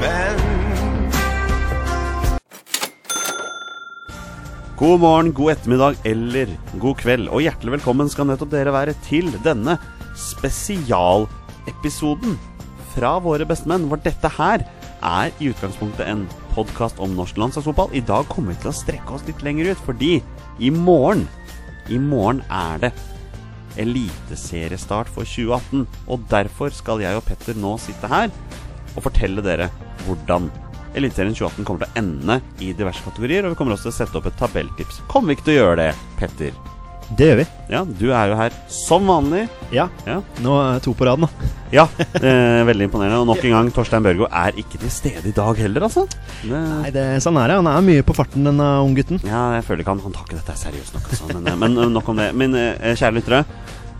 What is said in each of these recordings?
menn. God morgen, god ettermiddag eller god kveld, og hjertelig velkommen skal nettopp dere være til denne spesialepisoden fra Våre bestemenn, hvor dette her er i utgangspunktet en podkast om norsk landslagsfotball. I dag kommer vi til å strekke oss litt lenger ut, fordi i morgen, i morgen er det eliteseriestart for 2018. Og derfor skal jeg og Petter nå sitte her og fortelle dere hvordan Eliteserien 2018 kommer til å ende i diverse kategorier. Og vi kommer også til å sette opp et tabelltips. Kommer vi ikke til å gjøre det, Petter? Det gjør vi. Ja, du er jo her som vanlig. Ja. Ja. Nå er to på rad, nå. Ja, eh, veldig imponerende. Og nok en gang, Torstein Børgo er ikke til stede i dag heller, altså. Det, Nei, det, sånn er det. Han er mye på farten, denne unggutten. Ja, jeg føler ikke han Han tar ikke dette seriøst nok, altså. Men, eh, men eh, nok om det. Men eh, kjære lyttere.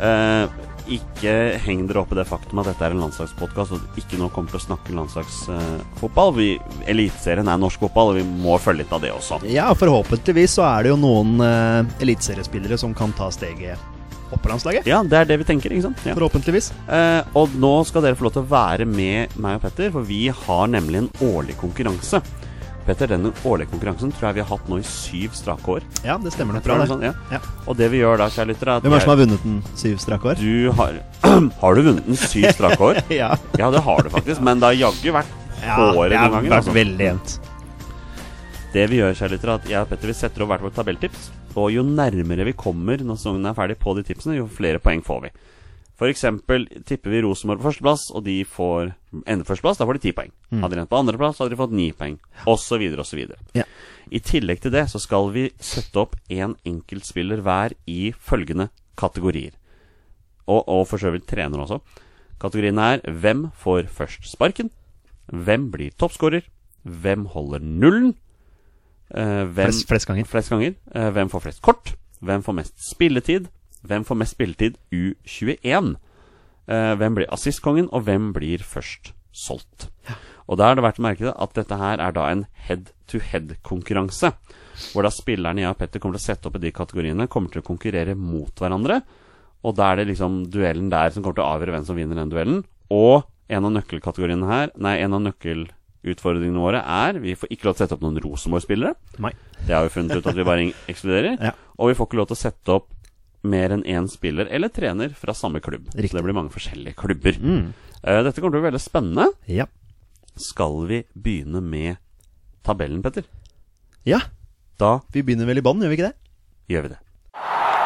eh, ikke heng dere opp i det faktum at dette er en landslagspodkast og ikke nå kommer til å snakke landslagsfotball. Uh, Eliteserien er norsk fotball, og vi må følge litt av det også. Ja, forhåpentligvis så er det jo noen eh, eliteseriespillere som kan ta steget opp på landslaget. Ja, det er det vi tenker, ikke sant? Ja. Forhåpentligvis. Eh, og nå skal dere få lov til å være med meg og Petter, for vi har nemlig en årlig konkurranse. Petter, denne årlige konkurransen tror jeg vi har hatt nå i syv strake år. Ja, det stemmer nok Tror bra, jeg det. det er sånn, Ja. ja. Og det vi gjør da, kjære lyttere er at Hvem er det som jeg- har vunnet den syv strake år? Du har Har du vunnet den syv strake år? Ja. Ja, det har du faktisk, men det har jaggu vært håret det noen har ganger. vært altså. veldig jevnt. Det vi gjør, kjære lyttere, er at jeg og Petter vi setter opp hvert vårt tabelltips. Og jo nærmere vi kommer når sesongen er ferdig på de tipsene, jo flere poeng får vi. For eksempel tipper vi Rosenborg på førsteplass, og de får endeførsteplass. Da får de ti poeng. Mm. Hadde de endt på andreplass, hadde de fått ni poeng. Og så videre, og så videre. Ja. I tillegg til det så skal vi sette opp én enkeltspiller hver i følgende kategorier. Og, og for så vidt trener også. Kategoriene er hvem får først sparken? Hvem blir toppskårer? Hvem holder nullen? Eh, hvem, Flest, flest ganger. flest ganger. Eh, hvem får flest kort? Hvem får mest spilletid? Hvem får mest spilletid U21? Eh, hvem blir assistkongen, og hvem blir først solgt? Og da er det verdt å merke det at dette her er da en head-to-head-konkurranse. Hvor da spillerne jeg og Petter kommer til å sette opp i de kategoriene, kommer til å konkurrere mot hverandre. Og da er det liksom duellen der som kommer til å avgjøre hvem som vinner den duellen. Og en av nøkkelkategoriene her, nei, en av nøkkelutfordringene våre er Vi får ikke lov til å sette opp noen Rosenborg-spillere. Nei. Det har vi funnet ut at vi bare ekskluderer. Ja. Og vi får ikke lov til å sette opp mer enn én spiller eller trener fra samme klubb. Riktig. Mm. Så det blir mange forskjellige klubber. Eh, dette kommer til å bli veldig spennende. Ja. Skal vi begynne med tabellen, Petter? ja. Da Vi begynner vel i bånn, gjør vi ikke det? gjør vi det.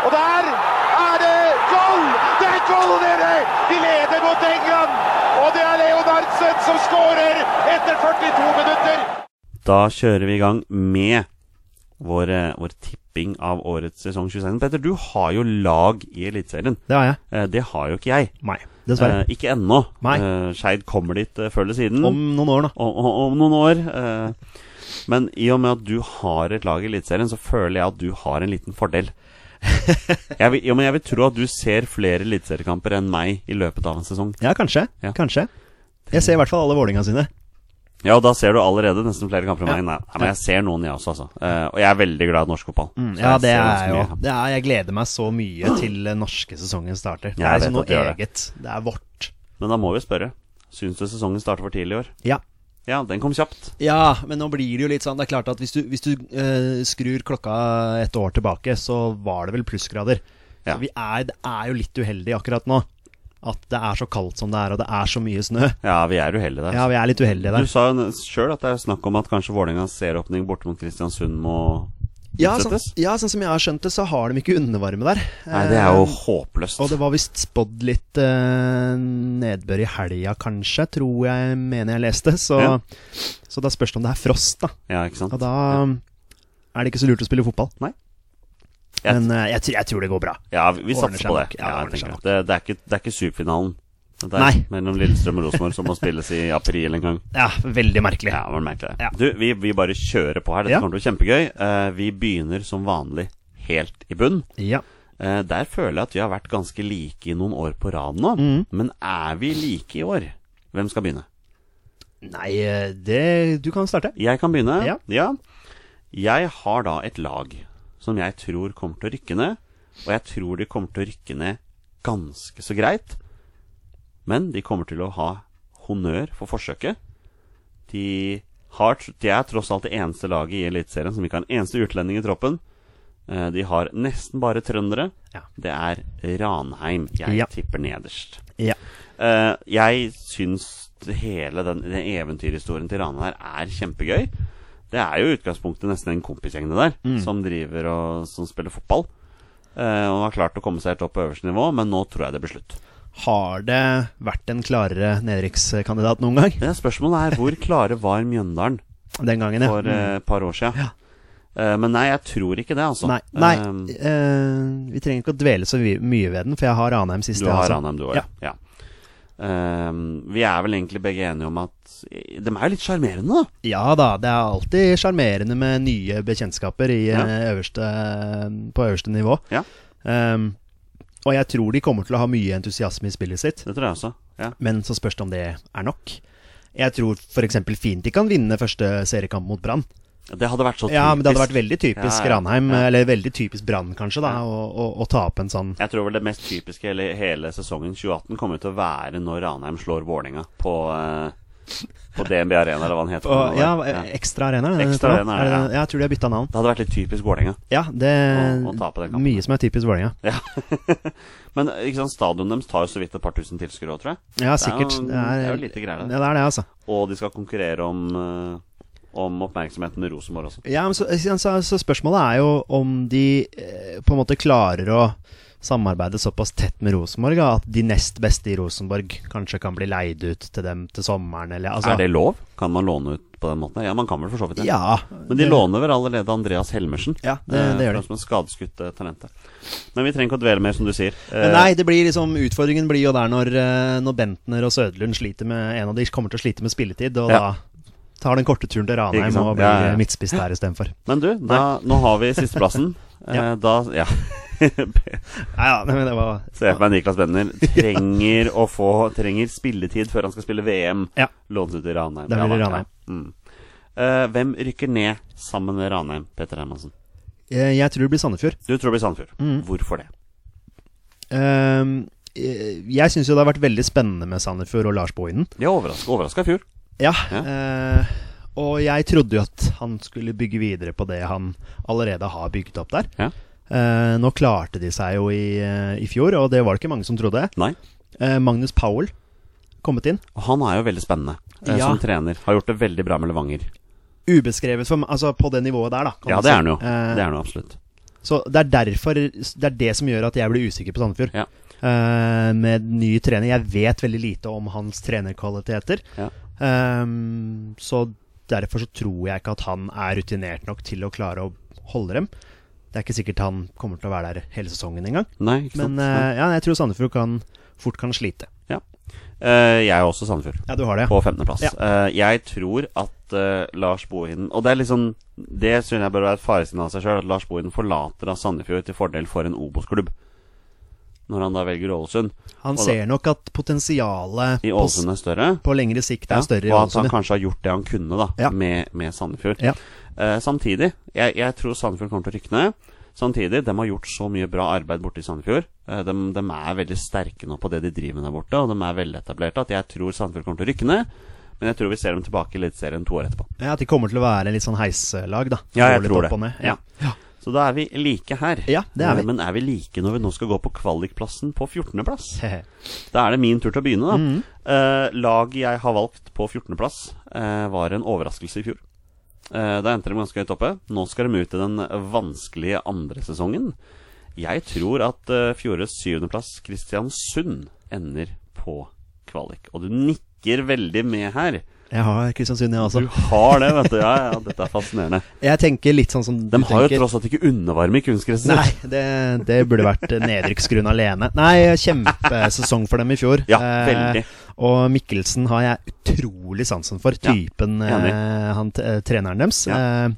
Og der er det goal! Det er goal, dere! De leder mot England! Og det er Leonardsen som skårer etter 42 minutter! Da kjører vi i gang med vår, eh, vår tipping av årets sesong 26. Petter, du har jo lag i Eliteserien. Det har jeg. Eh, det har jo ikke jeg. Nei. Dessverre. Eh, ikke ennå. Nei. Eh, Skeid kommer dit eh, før eller siden. Om noen år, da. om, om, om noen år. Eh, men i og med at du har et lag i Eliteserien, så føler jeg at du har en liten fordel. Jeg vil, jo, men jeg vil tro at du ser flere eliteseriekamper enn meg i løpet av en sesong. Ja, kanskje. Ja. Kanskje. Jeg ser i hvert fall alle Vålinga sine. Ja, og da ser du allerede nesten flere kamper enn meg. Ja. Nei, nei, men jeg ser noen, jeg også, altså. Eh, og jeg er veldig glad i norsk fotball. Så Mm, Ja, jeg det ser er ganske jo mye. det er, Jeg gleder meg så mye til den norske sesongen starter. Det Ja, er jeg liksom vet at noe det gjør det. eget. Det er vårt. Men da må vi spørre. Syns du sesongen starter for tidlig i år? Ja. Ja, den kom kjapt. ja, men nå blir det jo litt sånn Det er klart at hvis du, hvis du eh, skrur klokka et år tilbake, så var det vel plussgrader. Ja. Så vi er, det er jo litt uheldig akkurat nå. At det er så kaldt som det er, og det er så mye snø. Ja, vi er uheldige der. Ja, vi er litt uheldige Du der. sa jo sjøl at det er snakk om at kanskje Vålerengas serieåpning borte mot Kristiansund må Ja sånn, utsettes? ja, sånn som jeg har skjønt det, så har de ikke undervarme der. Nei, det er jo Eh, håpløst. Og det var visst spådd litt eh, nedbør i helga, kanskje, tror jeg mener jeg leste. Så, Ja. så da spørs det om det er frost, da. Ja, ikke sant? Og da er det ikke så lurt å spille fotball. Nei. Jeg- Men eh, jeg, tr- jeg tror det går bra. Ja, vi, vi Ordner satser seg på det. nok. Ja, Ja, jeg ordner seg tenker nok. det. Det, det, er ikke, det er ikke superfinalen. Det er Nei. mellom Lillestrøm og Rosenborg som må spilles i april en gang. Ja, veldig merkelig. Ja, man merker det. Ja. Du, vi, vi bare kjører på her. Dette Ja. kommer til å bli kjempegøy. Eh, vi begynner som vanlig helt i bunn. Ja. Eh, der føler jeg at vi har vært ganske like i noen år på rad nå. Mm. Men er vi like i år? Hvem skal begynne? Nei, eh, det Du kan starte. Jeg kan begynne. Ja. Jeg har da et lag som jeg tror kommer til å rykke ned. Og jeg tror de kommer til å rykke ned ganske så greit. Men de kommer til å ha honnør for forsøket. De, har, tr- de er tross alt det eneste laget i Eliteserien som ikke har en eneste utlending i troppen. Eh, De har nesten bare trøndere. Ja. Det er Ranheim jeg Ja. tipper nederst. Ja. Eh, jeg syns hele den, den eventyrhistorien til Rane her er kjempegøy. Det er jo i utgangspunktet nesten en kompisgjeng det der, Mm. som driver og som spiller fotball. Eh, og har klart å komme seg helt opp på øverste nivå, men nå tror jeg det blir slutt. Har det vært en klarere nedrykkskandidat noen gang? Men spørsmålet er hvor klare var Mjøndalen Den gangen, ja. Mm. for eh, et par år siden? Eh, men nei, jeg tror ikke det, altså. Nei, nei Eh, eh, vi trenger ikke å dvele så vi- mye ved den, for jeg har Ranheim sist. Du jeg, har altså. Ranheim, du òg? Ja. Ja. ja. Ehm, vi er vel egentlig begge enige om at De er jo litt sjarmerende, da. Ja da, det er alltid sjarmerende med nye bekjentskaper i, Ja. eh, øverste, på øverste nivå. Ja. Ehm, og jeg tror de kommer til å ha mye entusiasme i spillet sitt, Det tror jeg også. Ja. men så spørs det om det er nok. Jeg tror f.eks. fint de kan vinne første seriekamp mot Brann. Det hadde vært så typisk. Ja, men det hadde vært veldig typisk Ja, ja, Ranheim, ja. eller veldig typisk Brann kanskje, da, Ja. å, å, å tape en sånn Jeg tror vel det mest typiske hele, hele sesongen 2018 kommer til å være når Ranheim slår Vålerenga på, eh, på DNB Arena, eller hva den heter. Å, for noe ja, eh, der. Ekstra Arena. er det det Ekstra heter nå? Arena, Er det- ja. ja. Jeg tror de har bytta navn. Det hadde vært litt typisk Vålerenga. Ja, det Å- å tape den kampen. Mye som er typisk Vålerenga. Ja. men ikke sant, stadionet deres tar jo så vidt et par tusen tilskuere òg, tror jeg. Det Ja, er sikkert. jo- det er jo lite greier, det. Ja, det er det, altså. Og de skal konkurrere om, eh, om oppmerksomheten med Rosenborg også. Ja, men så, så, så spørsmålet er jo om de eh, på en måte klarer å samarbeide såpass tett med Rosenborg da, at de nest beste i Rosenborg kanskje kan bli leid ut til dem til sommeren, eller altså er det lov? Kan man låne ut på den måten? Ja, man kan vel for så vidt det. Ja. Men de låner vel allerede Andreas Helmersen. Ja, det- det gjør de. eh, Som en skadeskutt eh, talentet. Men vi trenger ikke å dvele mer, som du sier. Eh, Men nei, det blir liksom, utfordringen blir jo der når, eh, når Bentner og Søderlund sliter med En av de kommer til å slite med spilletid, og Ja. da tar den korte turen til Ikke Ranheim sant? og blir Ja, ja, ja. eh, midtspiss der istedenfor. Men du, da, nå har vi sisteplassen. Eh, Ja. Da Ja. Ja, ja, men det var Se for meg Niklas Benner trenger å få Trenger spilletid før han skal spille VM. Ja. Lånt ut i Ranheim. Da blir Ja, det da, Ranheim. ja. Mm. Eh, hvem rykker ned sammen med Ranheim, Petter Hermansen? eh, Jeg tror det blir Sandefjord. Du tror det blir Sandefjord. Hvorfor det? Ehm, eh, jeg syns jo det har vært veldig spennende med Sandefjord og Lars Bohinen. De overraska i fjor. Ja, Ja. eh, og jeg trodde jo at han skulle bygge videre på det han allerede har bygd opp der. Ja. Eh, nå klarte de seg jo i, eh, i fjor, og det var det ikke mange som trodde. Nei. Eh, Magnus Powell kommet inn. Og han er jo veldig spennende eh, Ja. som trener. Har gjort det veldig bra med Levanger. Ubeskrevet for meg, altså på det nivået der, da. kan Ja, du det si. er han jo. Eh, Det er han jo absolutt. Så det er derfor Det er det som gjør at jeg blir usikker på Sandefjord. Ja. Eh, med ny trener. Jeg vet veldig lite om hans trenerkvaliteter. Ja. Ehm, så derfor så tror jeg ikke at han er rutinert nok til å klare å holde dem. Det er ikke sikkert han kommer til å være der hele sesongen engang. Nei, ikke sant. Men eh, ja, jeg tror Sandefjord kan, fort kan slite. ja. Eh, jeg er også Sandefjord, Ja, du har det, ja. på femteplass. Eh, jeg tror at eh, Lars Bohinen Og det er liksom Det synes jeg bør være et faresignal i seg sjøl, at Lars Bohinen forlater av Sandefjord til fordel for en Obos-klubb. Når han da velger Ålesund. Han Og da- ser nok at potensialet I på, s- Ålesund er større. på lengre sikt er Ja, større i og at han Ålesund. kanskje har gjort det han kunne da Ja. med, med Sandefjord. Ja. Eh, samtidig, jeg, jeg tror Sandefjord kommer til å rykke ned. Samtidig, de har gjort så mye bra arbeid borte i Sandefjord. Eh, de, de er veldig sterke nå på det de driver med der borte, og de er veletablerte. At jeg tror Sandefjord kommer til å rykke ned. Men jeg tror vi ser dem tilbake i Eliteserien to år etterpå. Ja, at de kommer til å være litt sånn heiselag, da. Ja, jeg Går litt tror opp det. og ned. Ja. Så da er vi like her. Ja, det er vi. Eh, Men er vi like når vi nå skal gå på kvalikplassen på 14.-plass? ja. Da er det min tur til å begynne, da. Mm. Eh, laget jeg har valgt på 14.-plass, eh, var en overraskelse i fjor. Eh, da endte de ganske høyt oppe. Nå skal de ut i den vanskelige andre sesongen. Jeg tror at eh, fjorårets syvendeplass, Kristiansund, ender på kvalik. Og du nikker veldig med her. Jeg har Kristiansund, jeg også. Du har det, vet du. Ja, ja, dette er fascinerende. Jeg tenker litt sånn som De du har jo tenker. tross alt ikke undervarme i kunstgresset sitt. Nei, det, det burde vært nedrykksgrunn alene. Nei, kjempesesong for dem i fjor. Ja, Eh, veldig. og Mikkelsen har jeg utrolig sansen for. Ja, Typen eh, han, t- eh, treneren deres. Eh,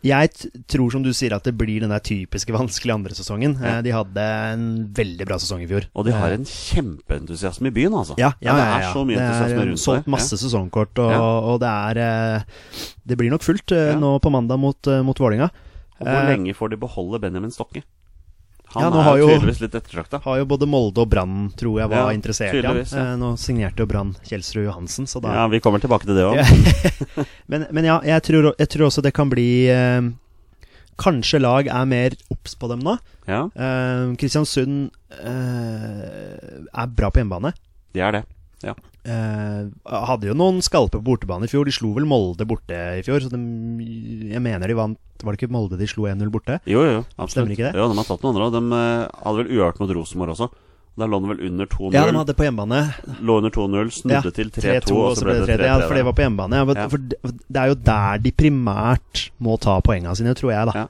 jeg t tror, som du sier, at det blir den der typiske vanskelige andre sesongen. Eh, de hadde en veldig bra sesong i fjor. Og de har Eh, en kjempeentusiasme i byen, altså. ja, ja, ja, ja, Det er så mye Det er, entusiasme eh, rundt Solgt det. masse sesongkort, og, Ja. og det er eh, Det blir nok fullt eh, Ja. nå på mandag mot, eh, mot Vålinga. Og hvor Eh, lenge får de beholde Benjamin Stokke? Han Ja, nå har er jo jo- tydeligvis litt ettertrakta. Har jo både Molde og Brann, tror jeg, var Ja, interessert i han. tydeligvis, ja. Eh, Nå signerte jo Brann Kjelsrud Johansen, så da Ja, vi kommer tilbake til det òg. Ja. Men, men ja, jeg tror, jeg tror også det kan bli eh, Kanskje lag er mer obs på dem nå. Ja, Eh, Kristiansund eh, er bra på hjemmebane. det er det. Ja. Eh, hadde jo noen skalper på bortebane i fjor. De slo vel Molde borte i fjor, så de, jeg mener de vant Var det ikke Molde de slo 1-0 borte? Jo, jo, jo, absolutt. Stemmer ikke det? Jo, de har tatt noen andre. og De eh, hadde vel uavgjort mot Rosenborg også. Da lå de vel under 2-0. Ja, de hadde på hjemmebane. Lå under 2-0, Ja, snudde til 3-2, og så ble det 3-3. Ja, for det var mm. på hjemmebane. Ja, Ja. for det- det er jo der de primært må ta poengene sine, tror jeg, da. Ja.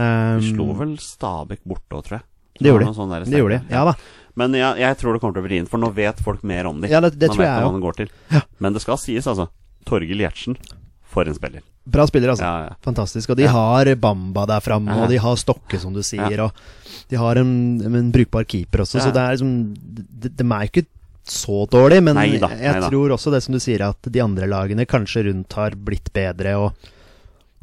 Eh, De slo vel Stabæk borte òg, tror jeg. Det gjorde var noe sånn der Det gjorde de. sterkt. Ja da. Men jeg, jeg tror det kommer til å bli vrient, for nå vet folk mer om dem. Ja, det, det tror jeg hva òg. han går til. Ja. Men det skal sies, altså. Torgill Gjertsen, for en spiller. Bra spillere, altså. Ja, ja. Fantastisk. Og de Ja. har Bamba der framme, Ja. og de har Stokke, som du sier, og de har en, en brukbar keeper også, Ja. så det er liksom de, de er jo ikke så dårlig, men Neida, jeg neida. tror også det som du sier, at de andre lagene kanskje rundt har blitt bedre og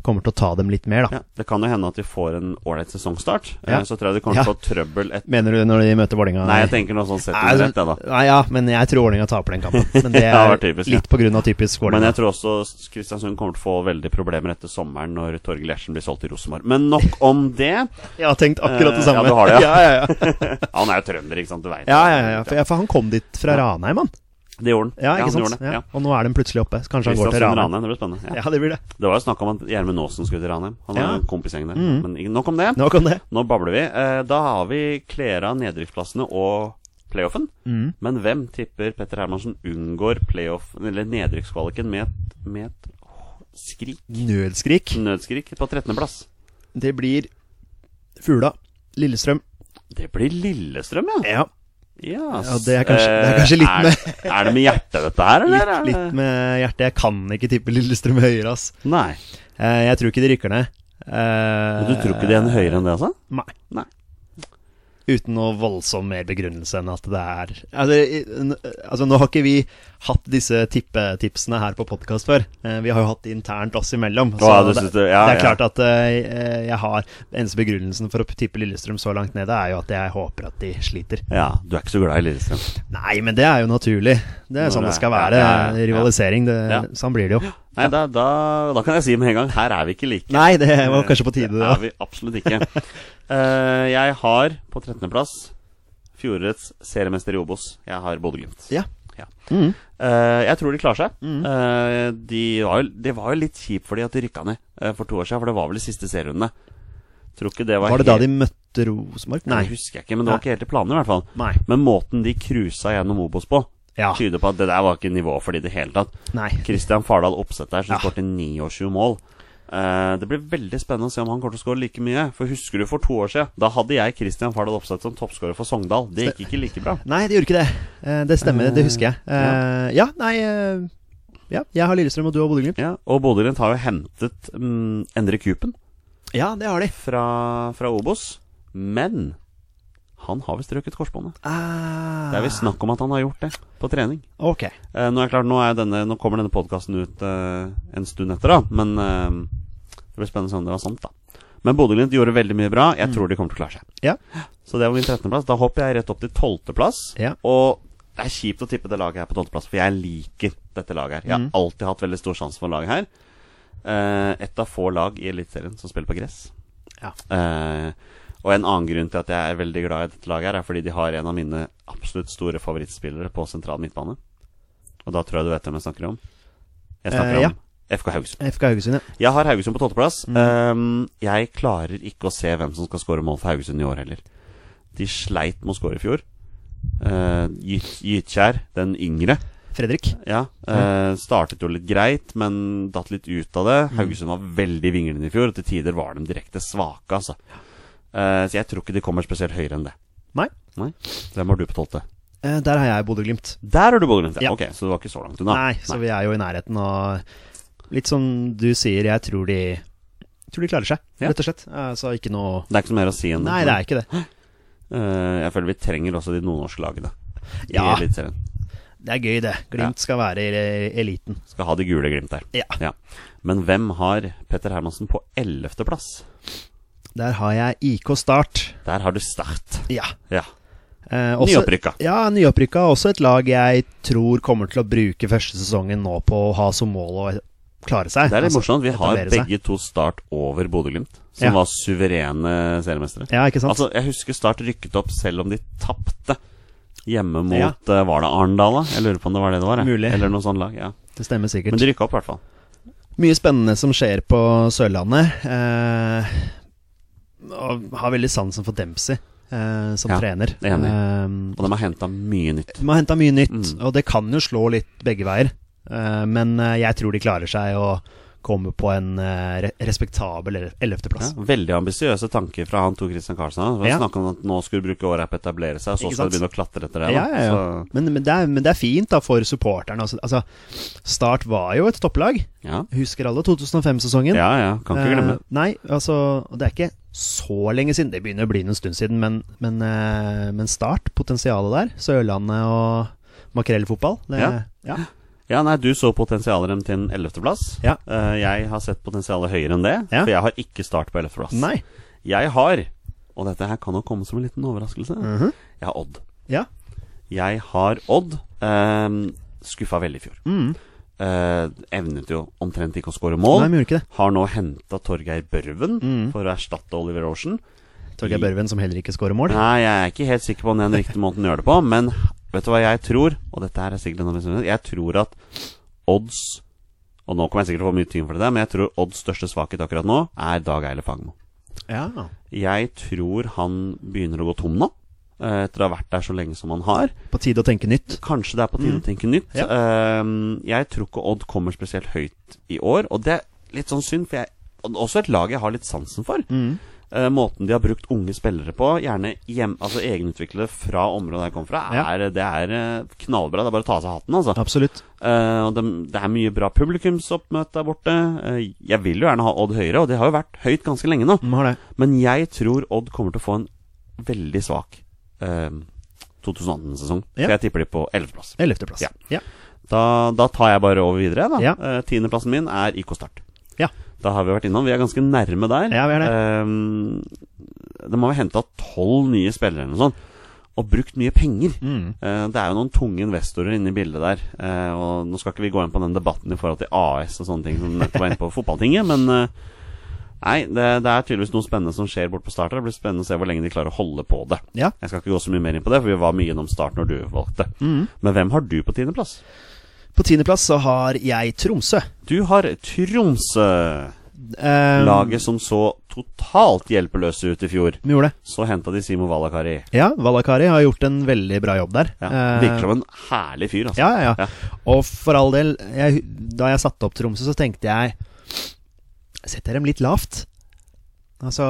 kommer til å ta dem litt mer, da. Ja, det kan jo hende at de får en ålreit sesongstart. Ja. Eh, Så tror jeg de kommer til Ja. å få trøbbel et Mener du når de møter Vålerenga? Nei, jeg tenker noe sånn sett Nei, under altså- ett, jeg, da. Nei, ja, men jeg tror Vålerenga taper den kampen. Men det Det er hadde vært typisk, ja. litt på grunn av typisk Men Vålerenga. jeg tror også Kristiansund kommer til å få veldig problemer etter sommeren når Torgill Gjertsen blir solgt til Rosenborg. Men nok om det. Jeg har tenkt akkurat det Eh, ja, samme. du har det, ja. ja. ja, ja, ja. Han er jo trønder, ikke sant? Du vet. ja, ja, ja, for, ja, for han kom dit fra Ja. Ranheim, han. Det gjorde han. Ja, ikke han sant? gjorde det, Ja. ja. Og nå er den plutselig oppe. Så Kanskje han går til Kristiansund Ranheim. Ranheim, det blir spennende. Ja. Ja, det blir det. Det var jo snakk om at Gjermund Aasen skulle til Ranheim. Han har Ja. jo en kompisgjeng der. Mhm. Men ikke- nok om det. Nå kom det. Nå babler vi. Eh, Da har vi Klera, nedrykksplassene og playoffen. Mm. Men hvem tipper Petter Hermansen unngår playoff, eller nedrykkskvaliken med et, med et åh, skrik? Nødskrik. Mm. Nødskrik på 13.-plass. Det blir Fugla. Lillestrøm. Det blir Lillestrøm, ja. Ja. Yes. Ja, det er kanskje- det er kanskje litt Eh, Er, er det med hjertet, dette her, eller? Litt, er det- litt med hjertet. Jeg kan ikke tippe Lillestrøm høyere, ass. Nei. Eh, Jeg tror ikke de rykker ned. Men du tror ikke det er en høyere enn det, altså? Eh, Nei. Nei. Uten noe voldsom mer begrunnelse enn at det er Altså, i- n- altså nå har ikke vi hatt disse tippetipsene her på podkast før. Eh, Vi har jo hatt det internt oss imellom. Å, ja, du det, synes det- ja, det er ja. klart at eh, jeg har Eneste begrunnelsen for å tippe Lillestrøm så langt nede, er jo at jeg håper at de sliter. Ja, du er ikke så glad i Lillestrøm. Nei, men det er jo naturlig. Det er Når sånn det det skal er- være. ja, ja, ja. Rivalisering. Det, Ja. Sånn blir det jo. Nei, da, da, da kan jeg si med en gang her er vi ikke like. Nei, det var kanskje på tide, Det da. er vi absolutt ikke. Eh, jeg har på 13.-plass fjorårets seriemester i Obos. Jeg har Bodø-Glimt. Ja. Ja. Mm. Eh, jeg tror de klarer seg. Eh, de var jo, det var jo litt kjipt for de at de rykka ned eh, for to år siden, for det var vel de siste serierundene. Tror ikke det var, Var det da helt- de møtte Rosenborg? Nei, Nei. det husker jeg ikke, men det var ikke helt i planene i hvert fall. Nei. Men måten de cruisa gjennom Obos på, Ja. tyder på at det der var ikke nivå for de i det hele tatt. Nei. Christian Fardal Opseth der, som Ja. skårte 29 mål. Eh, det blir veldig spennende å se om han kommer til å skåre like mye. For husker du for to år siden? Da hadde jeg Christian Fardal Opseth som toppskårer for Sogndal. Det gikk ikke like bra. Nei, det gjorde ikke det. Eh, Det stemmer, det husker jeg. Eh, Ja, nei eh, Ja, jeg har Lillestrøm, og du har Bodø-Glimt. Ja, og Bodø-Glimt har jo hentet mm, Endre Kupen Ja, det har de. fra, fra Obos. Men han har visst røket korsbåndet. Ah, Det er visst snakk om at han har gjort det på trening. Ok. Eh, nå er det klart, nå, er denne, nå kommer denne podkasten ut eh, en stund etter, da. Men eh, det blir spennende å se om det var sant, da. Men Bodø-Glimt gjorde veldig mye bra. Jeg tror de kommer til å klare seg. Mm. Ja. Så det var min 13.-plass. Da hopper jeg rett opp til 12.-plass. Ja. Og det er kjipt å tippe det laget her på 12.-plass, for jeg liker dette laget her. Jeg har Mm. alltid hatt veldig stor sjanse for laget her. Eh, et av få lag i Eliteserien som spiller på gress. Ja. Eh, og en annen grunn til at jeg er veldig glad i dette laget, her er fordi de har en av mine absolutt store favorittspillere på sentral midtbane. Og da tror jeg du vet hvem jeg snakker om. Jeg snakker Eh, ja. Mm. om FK Haugesund. FK Haugesund, ja. Jeg har Haugesund på tolvteplass. Um, jeg klarer ikke å se hvem som skal skåre mål for Haugesund i år heller. De sleit med å skåre i fjor. Uh, Gyt- Gytkjær, den yngre, Fredrik. ja, eh, startet jo litt greit, men datt litt ut av det. Mm. Haugesund var veldig vinglende i fjor, og til tider var de direkte svake, altså. Eh, så jeg tror ikke de kommer spesielt høyere enn det. Nei. Nei. Hvem har du på tolvte? Eh, Der har jeg Bodø-Glimt. Der har du Bodø-Glimt, ja. Ja. Ok, så du var ikke så langt unna. Nei, så vi er jo i nærheten av Litt som du sier, jeg tror de Tror de klarer seg, Ja. rett og slett. Eh, Så ikke noe Det er ikke så mer å si enn Nei, det er ikke det. Eh, jeg føler vi trenger også de nordnorske lagene i Ja. Eliteserien. Det er gøy, det. Glimt skal være i eh, eliten. Skal ha det gule glimt der. Ja. Men hvem har Petter Hermansen på ellevteplass? Der har jeg IK Start. Der har du Start. Ja. Ja. Eh, også- Nyopprykka. Ja, nyopprykka. Også et lag jeg tror kommer til å bruke første sesongen nå på å ha som mål å klare seg. Det er litt Altså, morsomt. Vi har etablere seg. begge to Start over Bodø-Glimt, som Ja. var suverene seriemestere. Ja, ikke sant? Altså, jeg husker Start rykket opp selv om de tapte hjemme mot Ja. eh, Var det Arendal, da? Jeg lurer på om det var det det var. jeg. Mulig. Eller noe sånt lag. ja det stemmer sikkert. Men de rykka opp, i hvert fall. Mye spennende som skjer på Sørlandet. Eh, og har veldig sansen for Dempsey eh, som Ja, trener. enig. Eh, Og de har henta mye nytt. de har henta mye nytt, Mm. og det kan jo slå litt begge veier. Eh, men eh, jeg tror de klarer seg å komme på en eh, re- respektabel ele- Ja, ellevteplass. veldig ambisiøse tanker fra han Tor Christian Karlsen. Ja. Ja. Snakka om at nå skulle du bruke året på å etablere seg, og så Ikke skal sant? du begynne å klatre etter det. da. Ja, ja, ja. Så, Men, men, det er, men det er fint da for supporterne. Altså, altså, Start var jo et topplag. ja. Husker alle 2005-sesongen? ja, ja. Kan ikke glemme. Eh, nei, altså og Det er ikke så lenge siden. Det begynner å bli en stund siden, men, men, eh, men start potensialet der. Sørlandet og makrellfotball. Det, Ja. ja. Ja, nei, du så potensialet dem til en 11.-plass. Ja. Eh, jeg har sett potensialet høyere enn det, Ja. for jeg har ikke start på 11.-plass. Nei. Jeg har, og dette her kan jo komme som en liten overraskelse, Mhm. jeg har Odd. Ja. Jeg har Odd. Um, skuffa veldig i fjor. Eh, evnet jo omtrent ikke å skåre mål. Mm. Nei, Mm. vi gjorde ikke det. har nå henta Torgeir Børven for å erstatte Oliver Ocean. Torgeir Børven som heller ikke scorer mål. Nei, jeg er ikke helt sikker på om det er den riktige måten å gjøre det på, men vet du hva jeg tror? Og dette her er sikkert en overraskelse. Jeg tror at odds Og nå kommer jeg sikkert til å få mye tyn for det, der, men jeg tror odds største svakhet akkurat nå er Dag Eile Fagmo. Ja. Jeg tror han begynner å gå tom nå, eh, etter å ha vært der så lenge som han har. På tide å tenke nytt. Kanskje det er på tide å tenke nytt. Mm. Ja. Ehm, jeg tror ikke Odd kommer spesielt høyt i år, og det er litt sånn synd, for jeg og også et lag jeg har litt sansen for. Mm. Eh, måten de har brukt unge spillere på, gjerne hjem, altså egenutviklede fra området jeg kommer fra, Ja. er, det er eh, knallbra. Det er bare å ta av seg hatten, altså. Absolutt. Eh, og det, det er mye bra publikumsoppmøte der borte. Eh, jeg vil jo gjerne ha Odd høyere, og det har jo vært høyt ganske lenge nå. Vi har det. Men jeg tror Odd kommer til å få en veldig svak eh, 2018-sesong. Ja. Så jeg tipper de på 11.-plass. Ellevteplass. Ja. Ja. Da, da tar jeg bare over videre. da Ja. Eh, Tiendeplassen min er IK Start. Ja. Da har vi vært innom. Vi er ganske nærme der. Ja, vi er det. Eh, de har jo henta tolv nye spillere eller noe sånt, og brukt mye penger. Mm. Eh, det er jo noen tunge investorer inne i bildet der. Eh, og Nå skal ikke vi gå inn på den debatten i forhold til AS og sånne ting som nettopp var inne på fotballtinget, men eh, Nei, det, det er tydeligvis noe spennende som skjer borte på Start. her. Det blir spennende å se hvor lenge de klarer å holde på det. Ja. Jeg skal ikke gå så mye mer inn på det, for vi var mye innom Start når du valgte. Mm. Men hvem har du på tiendeplass? På tiendeplass så har jeg Tromsø. Du har Tromsø. Eh, Laget som så totalt hjelpeløse ut i fjor. Vi gjorde det. Så henta de Simo Valakari. Ja, Valakari har gjort en veldig bra jobb der. Ja, Eh, virker som en herlig fyr, altså. Ja, ja, ja. Og for all del, jeg, da jeg satte opp Tromsø, så tenkte jeg Setter dem litt lavt. Altså,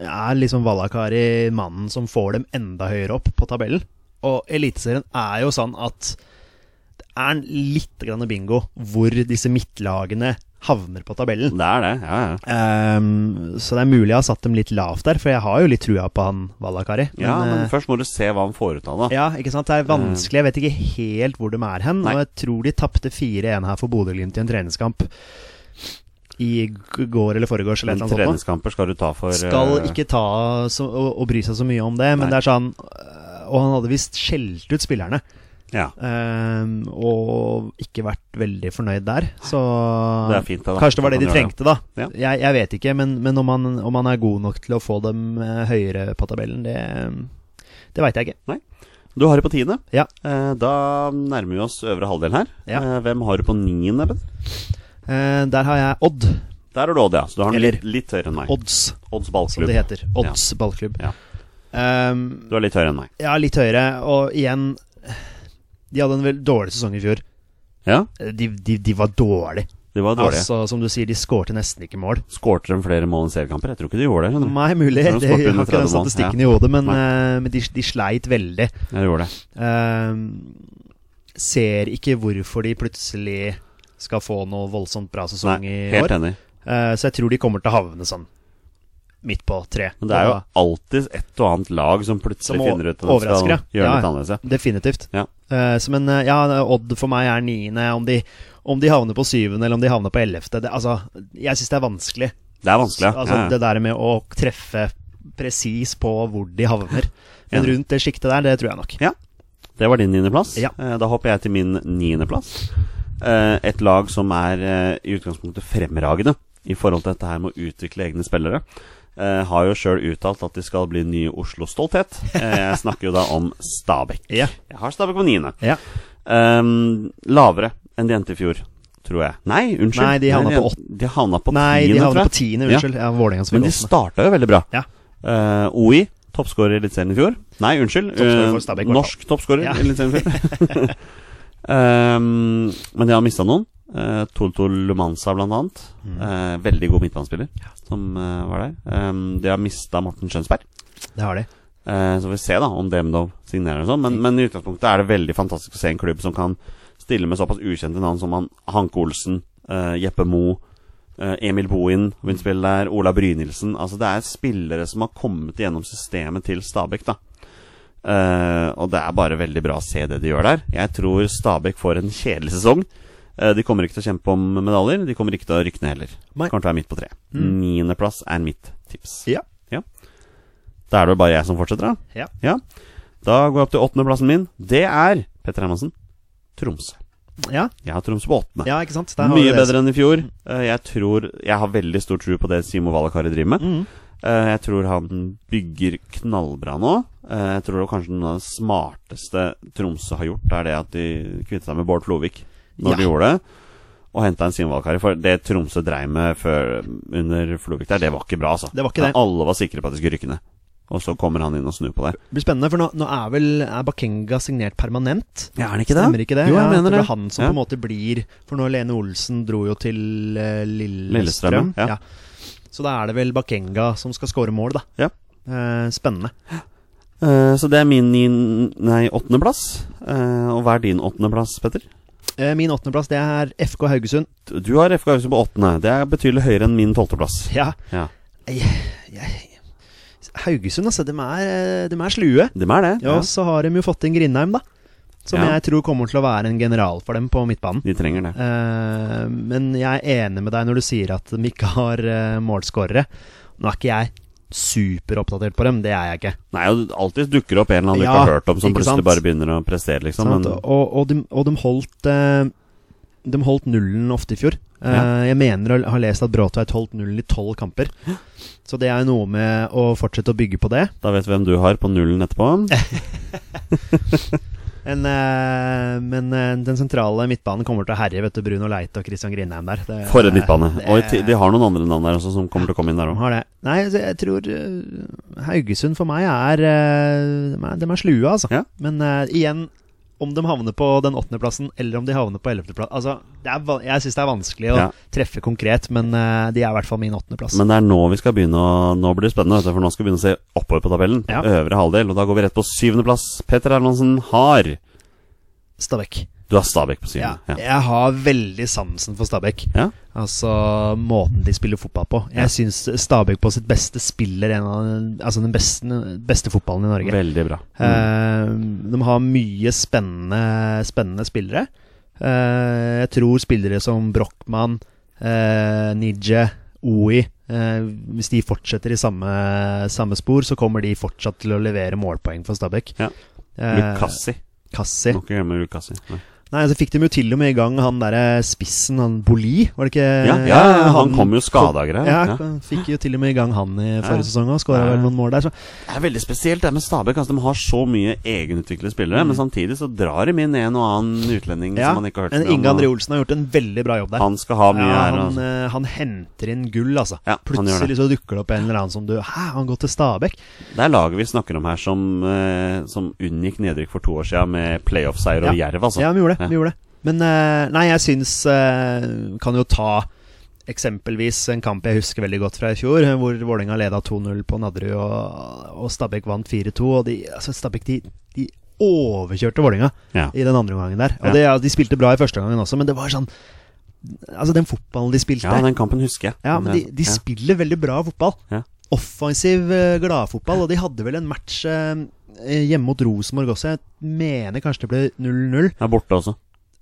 er liksom Valakari mannen som får dem enda høyere opp på tabellen? Og Eliteserien er jo sånn at det er en litt grann bingo hvor disse midtlagene havner på tabellen. Det er det. Ja, ja. Ehm, så det er mulig jeg har satt dem litt lavt der, for jeg har jo litt trua på han Valakari. Ja, men eh, først må du se hva han får ut av det. ja, ikke sant? Det er vanskelig. Jeg vet ikke helt hvor de er hen. Nei. Og jeg tror de tapte 4-1 her for Bodø-Glimt i en treningskamp i g- går eller foregårs. Eller Men et eller annet sånt nå. treningskamper skal du ta for Skal eh, ikke ta så, og, og bry seg så mye om det, men Nei. det er sånn øh, Og han hadde visst skjelt ut spillerne, Ja. ehm, og ikke vært veldig fornøyd der. Så Det er fint, da, da. Kanskje det var Da det de kan du gjøre trengte, da. Ja. Jeg, jeg vet ikke, men, men om, han, om han er god nok til å få dem eh, høyere på tabellen, det, det veit jeg ikke. Du har det på tiende. Ja. Eh, da nærmer vi oss øvre halvdel her. Ja. Eh, hvem har du på niende? Ben? Eh, der har jeg Odd. Der har du Odd, ja. Så du har den Eller- litt, litt høyere enn meg. Odds, Odds som ballklubb. det heter. Odds ballklubb. Ja. Ehm, Du er litt høyere enn meg. ja, litt høyere. Og igjen De hadde en vel dårlig sesong i fjor. Eh, Ja, De, de, de var dårlige. de var dårlige. Altså, som du sier, de skårte nesten ikke mål. Skårte de flere mål enn seriekamper? Jeg tror ikke de gjorde det. skjønner du. Nei, mulig. Jeg tror Mm. de skårte Det, jeg har under ikke 30 den mål, statistikken ja. i hodet, men, eh, men de, de sleit veldig. Jeg gjorde det. Ehm, ser ikke hvorfor de plutselig skal få noe voldsomt bra sesong Nei, i helt år. enig. Eh, så jeg tror de kommer til å havne sånn midt på tre. Men det er jo Og- alltid et og annet lag som plutselig Som å- finner ut at de skal overrasker, ja. gjøre Ja, litt ja. annerledes. ja. Definitivt. Ja. Eh, så men eh, ja, Odd for meg er niende. Om de, om de havner på syvende eller om de havner på ellevte det- altså, Jeg syns det er vanskelig Det er vanskelig, ja. Altså, ja. ja. Det der med å treffe presis på hvor de havner. Men Ja. rundt det sjiktet der, det tror jeg nok. Det var din niendeplass. Ja. Eh, Da hopper jeg til min niendeplass. Eh, Et lag som er eh, i utgangspunktet fremragende i forhold til dette her med å utvikle egne spillere. Eh, Har jo sjøl uttalt at de skal bli ny Oslo-stolthet. Eh, Jeg snakker jo da om Stabæk. Ja. Jeg har Stabæk på niende. Ja. Ehm, lavere enn de endte i fjor, tror jeg. Nei, unnskyld. Nei, de havna på åtte. De havna på Nei, de tiende, tror havner jeg. på tiende, Ja. unnskyld. Ja, Vålerenga som Men de vil åpne. starta jo veldig bra. Ja. Eh, OI, toppskårer i Eliteserien i fjor. Nei, unnskyld. Toppskårer eh, for Stabæk, i hvert norsk toppskårer Ja. i Eliteserien i fjor. Ehm, men de har mista noen. Eh, Toto Lumanza, blant annet. Mm. Eh, veldig god midtbanespiller som eh, var der. Ehm, de har mista Morten Skjønsberg. Det har de. Eh, Så får vi se da om Demdov signerer og sånn. Men, men i utgangspunktet er det veldig fantastisk å se en klubb som kan stille med såpass ukjente navn som han, Hanke Olsen, eh, Jeppe Mo, eh, Emil Bohin vil spille der, Ola Brynildsen Altså det er spillere som har kommet gjennom systemet til Stabæk, da. Eh, og det er bare veldig bra å se det de gjør der. Jeg tror Stabæk får en kjedelig sesong. Eh, de kommer ikke til å kjempe om medaljer. De kommer ikke til å rykke ned heller. Nei. Kommer til å være midt på treet. Mm. Niendeplass er mitt tips. Ja. Da er det vel bare jeg som fortsetter, da. Ja. Da går jeg opp til åttendeplassen min. Det er Petter Hermansen. Tromsø. Ja, Jeg har Tromsø på åttende. ja ikke sant? Der har vi Mye det. Mm. bedre enn i fjor. Eh, Jeg tror Jeg har veldig stor tro på det Simo Valakari driver med. Mm. Eh, Jeg tror han bygger knallbra nå. Eh, Jeg tror det kanskje noe av det smarteste Tromsø har gjort, er det at de kvittet seg med Bård Flovik når Ja. de gjorde det. Og henta en Simo Valakari. For det Tromsø dreiv med før, under Flovik der, det var ikke bra, altså. Det var ikke det. Alle var sikre på at de skulle rykke ned. Og så kommer han inn og snur på det. Det blir spennende, for nå, nå er vel er Bakenga signert permanent. Ja, er han ikke det? Stemmer ikke det? Jo, jeg ja, at mener det det. blir han som Ja. på en måte blir For nå Lene Olsen dro jo til eh, Lillestrøm. Lillestrøm, ja. Så da er det vel Bakenga som skal score mål, da. Ja. Eh, spennende. Eh, så det er min nin- nei, åttendeplass. Eh, og hva er din åttendeplass, Petter? Eh, min åttendeplass det er FK Haugesund. Du- Du har FK Haugesund på åttende. Det er betydelig høyere enn min tolvteplass. Ja. Ja. Jeg, jeg, Haugesund, altså. De er, eh, dem er slue. De er det. Ja, Ja. og så har de jo fått inn Grindheim, da. Som Ja. jeg tror kommer til å være en general for dem på midtbanen. De trenger det. Eh, men jeg er enig med deg når du sier at de ikke har uh, målskårere. Nå er ikke jeg superoppdatert på dem, det er jeg ikke. Nei, og det alltid dukker opp en eller annen du Ja, ikke har hørt om, som ikke plutselig sant? bare begynner å prestere, liksom. sant? Men Og, og, de, og de holdt eh, De holdt nullen ofte i fjor. Eh, Ja. Jeg mener å ha lest at Bråtveit holdt nullen i tolv kamper. Så det er jo noe med å fortsette å bygge på det. da vet vi hvem du har på nullen etterpå. En, eh, men eh, den sentrale midtbanen kommer til å herje. Vet du, Bruno Leite og Christian Grindheim der. Det- For en midtbane. det- Og i ti- de har noen andre navn der også som kommer til å komme inn der de òg. har det. Nei, altså, jeg tror eh, Haugesund for meg er eh, De er, de er slue, altså. Ja. Men eh, igjen, om de havner på den åttendeplassen eller om de havner på ellevteplass altså, det er va- Jeg syns det er vanskelig å Ja. treffe konkret, men eh, de er i hvert fall min åttendeplass. Men det er nå vi skal begynne å Nå blir det spennende, vet du, for nå skal vi begynne å se oppover på tabellen. Ja. Øvre halvdel. Og da går vi rett på syvendeplass. Petter Hermansen har Stabæk. Du har Stabæk på Ja. syvende. Ja. Jeg har veldig sansen for Stabæk. Ja. Altså måten de spiller fotball på. Jeg syns Stabæk på sitt beste spiller en av altså den beste, beste fotballen i Norge. Veldig bra. Eh, de har mye spennende, spennende spillere. Eh, jeg tror spillere som Brochmann, uh, Nije, Oi eh, Hvis de fortsetter i samme, samme spor, så kommer de fortsatt til å levere målpoeng for Stabæk. Ja. Eh, Lukassi. Kassi. Må ikke glemme Lukassi. Nei. Nei, så fikk de jo til og med i gang han derre spissen, han Boli, var det ikke? Ja, ja, ja, han kom jo skada og greier. Eh, Ja, Ja. fikk jo til og med i gang han i Ja. forrige sesong og skåra Ja. vel noen mål der, så Det er veldig spesielt det med Stabæk. Altså, de har så mye egenutviklede spillere, men samtidig så drar de inn en og annen utlending Mm. ja. som man ikke har hørt Men om, Inge og André Olsen har gjort en veldig bra jobb der. Han skal ha mye ja, ære. han, Altså. eh, han henter inn gull, altså. Ja, han gjør det. Plutselig så dukker det opp en eller annen som du Hæ, han går til Stabæk? Det er laget vi snakker om her som, eh, som unngikk nedrykk for to år siden med playoff-seier over Jerv, altså. Ja, vi gjorde det. Ja. Vi gjorde det. Men eh, nei, jeg syns eh, Kan jo ta eksempelvis en kamp jeg husker veldig godt fra i fjor, eh, hvor Vålerenga leda 2-0 på Nadderud, og, og Stabæk vant 4-2. Og de, altså Stabæk de, de overkjørte Vålerenga Ja. i den andre omgangen der. Ja. Og det, ja, De spilte bra i første omgangen også, men det var sånn Altså, den fotballen de spilte Ja, den kampen husker jeg. Ja, men de, de Ja. spiller veldig bra fotball. Ja. Offensiv, eh, gladfotball. Og de hadde vel en match eh, hjemme mot Rosenborg også. Jeg mener kanskje det ble 0-0. er borte også.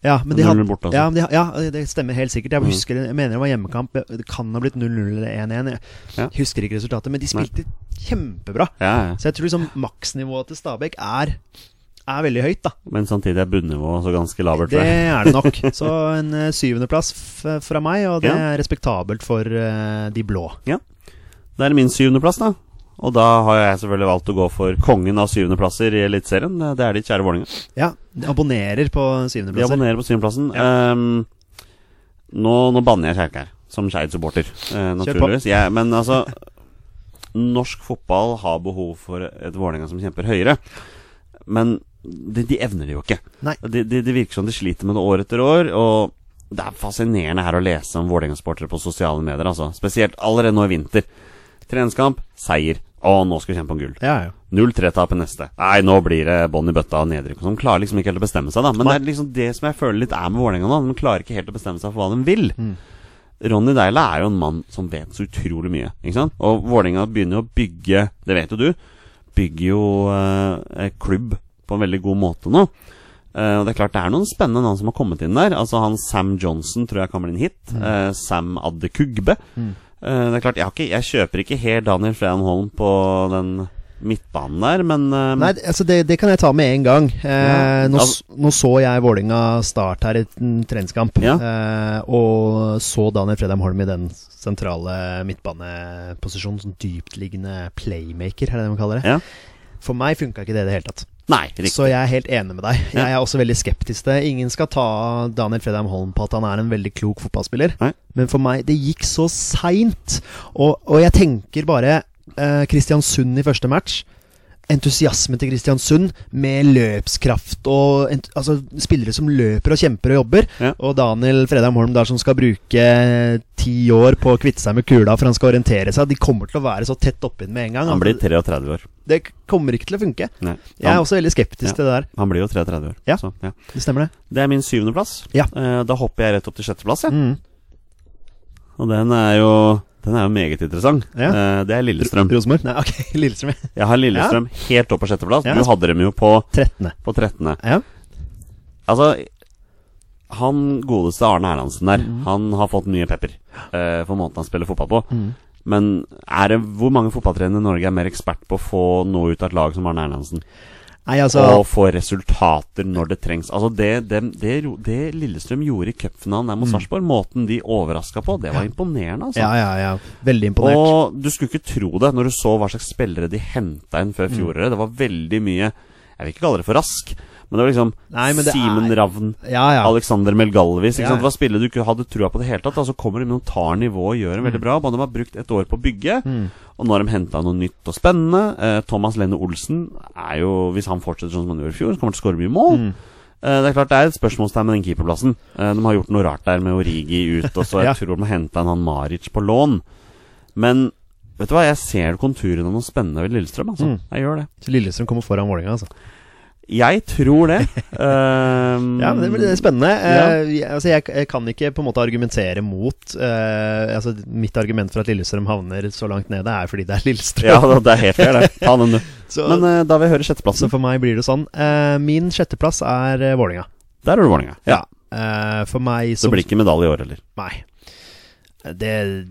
Ja, men de 0-0 hadde, borte, altså. Mm. ja, men de, ha- ja, eh, det stemmer helt sikkert. Jeg husker, jeg mener det var hjemmekamp. Eh, Det kan ha blitt 0-0 eller 1-1. Jeg Ja. husker ikke resultatet, men de Nei. spilte kjempebra. Ja, ja. Så jeg tror liksom maksnivået til Stabæk er, er veldig høyt, da. Men samtidig er bunnivået så ganske labert. Det tror jeg. er det nok. Så en eh, syvendeplass f- fra meg, og det Ja. er respektabelt for eh, de blå. Det er min syvendeplass, da. Og da har jeg selvfølgelig valgt å gå for kongen av syvendeplasser i Eliteserien. Det er ditt kjære Vålerenga. Ja, abonnerer på De syvendeplasser. abonnerer på syvendeplassen. Ehm, nå, nå banner jeg Kjerkær, som Skeid-supporter, eh, på. naturligvis. Jeg, men altså Norsk fotball har behov for et Vålerenga som kjemper høyere. Men de, de evner det jo ikke. Nei. De, de, de virker som de sliter med det år etter år. Og det er fascinerende her å lese om Vålerenga-sportere på sosiale medier. Altså. Spesielt allerede nå i vinter. Treningskamp, seier. Å, nå skal vi kjempe om gull. Ja, ja. 0-3-tap i neste. Nei, nå blir det bånn i bøtta og nedrykk. og sånn. klarer liksom ikke helt å bestemme seg, da. Men det er liksom det som jeg føler litt er med Vålerenga nå. De klarer ikke helt å bestemme seg for hva de vil. Ronny Deila er jo en mann som vet så utrolig mye. Ikke sant? Og Vålerenga begynner jo å bygge, det vet jo du, bygger jo eh, eh, klubb på en veldig god måte nå. Eh, og det er klart det er noen spennende navn som har kommet inn der. Altså han Sam Johnson tror jeg kommer inn hit. Mm. Eh, Sam Adekugbe. Eh, det er klart, jeg, har ikke, jeg kjøper ikke helt Daniel Frean Holm på den midtbanen der, men eh, Nei, altså det, det kan jeg ta med en gang. Eh, Ja. nå, s- nå så jeg Vålinga start her i en treningskamp, Ja. eh, og så Daniel Fredheim Holm i den sentrale midtbaneposisjonen, sånn dyptliggende playmaker, er det det man kaller det? Ja. For meg funka ikke det i det hele tatt. Nei, riktig. Så jeg er helt enig med deg. Ja. Jeg er også veldig skeptisk til det. Ingen skal ta Daniel Fredheim Holm på at han er en veldig klok fotballspiller, Nei. men for meg Det gikk så seint. Og, og jeg tenker bare eh, Kristiansund i første match. Entusiasme til Kristiansund med løpskraft og ent altså, spillere som løper og kjemper og jobber. Ja. Og Daniel Fredheim Holm der som skal bruke eh, ti år på å kvitte seg med kula for han skal orientere seg. De kommer til å være så tett oppi den med en gang. Altså, Han blir 33 år. Det kommer ikke til å funke. Nei. Jeg er Han, også veldig skeptisk Ja. til det der. han blir jo 33 år. Ja. Så, ja. Det stemmer det. Det er min syvendeplass. Ja. Eh, da hopper jeg rett opp til sjetteplass, jeg. Mm. Og den er jo, den er jo meget interessant. Ja. Eh, det er Lillestrøm. Rosenborg? Nei, ok, Lillestrøm. ja. Jeg har Lillestrøm helt opp på sjetteplass. Ja. Du hadde dem jo på, 13. på 13. Ja. Altså, han godeste Arne Erlandsen der, Mm. han har fått mye pepper eh, for måten han spiller fotball på. Mm. Men er det, hvor mange fotballtrenere i Norge er mer ekspert på å få noe ut av et lag som Arne Erlandsen? Nei, altså og få resultater når det trengs. Altså Det, det, det, ro- det Lillestrøm gjorde i cupfinalen der mot Sarpsborg, måten de overraska på, det var imponerende. altså Mm. Ja, ja, ja. Veldig imponert. og du skulle ikke tro det når du så hva slags spillere de henta inn Mm. før fjoråret. Det var veldig mye Jeg vil ikke kalle det for rask, men det var liksom Nei, men det Simen er- Ravn, ja, ja. Alexander Melgalvis ikke Ja, sant? Det ja. var spillere du ikke hadde trua på i det hele tatt. Og så kommer de med noen tar nivået og gjør en Mm. veldig bra. Bare de har brukt et år på å bygge, og nå har de henta noe nytt og spennende. Eh, Thomas Lene Olsen er jo, hvis han fortsetter sånn som han gjorde i fjor, så kommer han til å skåre mye mål. Mm. Eh, Det er klart det er et spørsmålstegn med den keeperplassen. Eh, De har gjort noe rart der med Origi ut, og så jeg Ja. tror de har henta en han Maric på lån. Men vet du hva, jeg ser konturene av noe spennende ved Lillestrøm. Altså. Mm. Jeg gjør det. Så Lillestrøm kommer foran Vålerenga, altså. Jeg tror det. Eh, Ehm, Ja, men det, men det er spennende. Ja. Eh, jeg- altså, jeg, jeg kan ikke på en måte argumentere mot eh, Altså, mitt argument for at Lillestrøm havner så langt nede, er fordi det er Lillestrøm. ja, det er helt fair, det. Ta den, du. så, Men eh, da vil jeg høre så sjetteplassen. for meg blir det sånn. Eh, min sjetteplass er eh, Vålerenga. Der er det Vålerenga. Ja. Eh, for meg Så som det blir ikke medalje i år heller. Nei. Det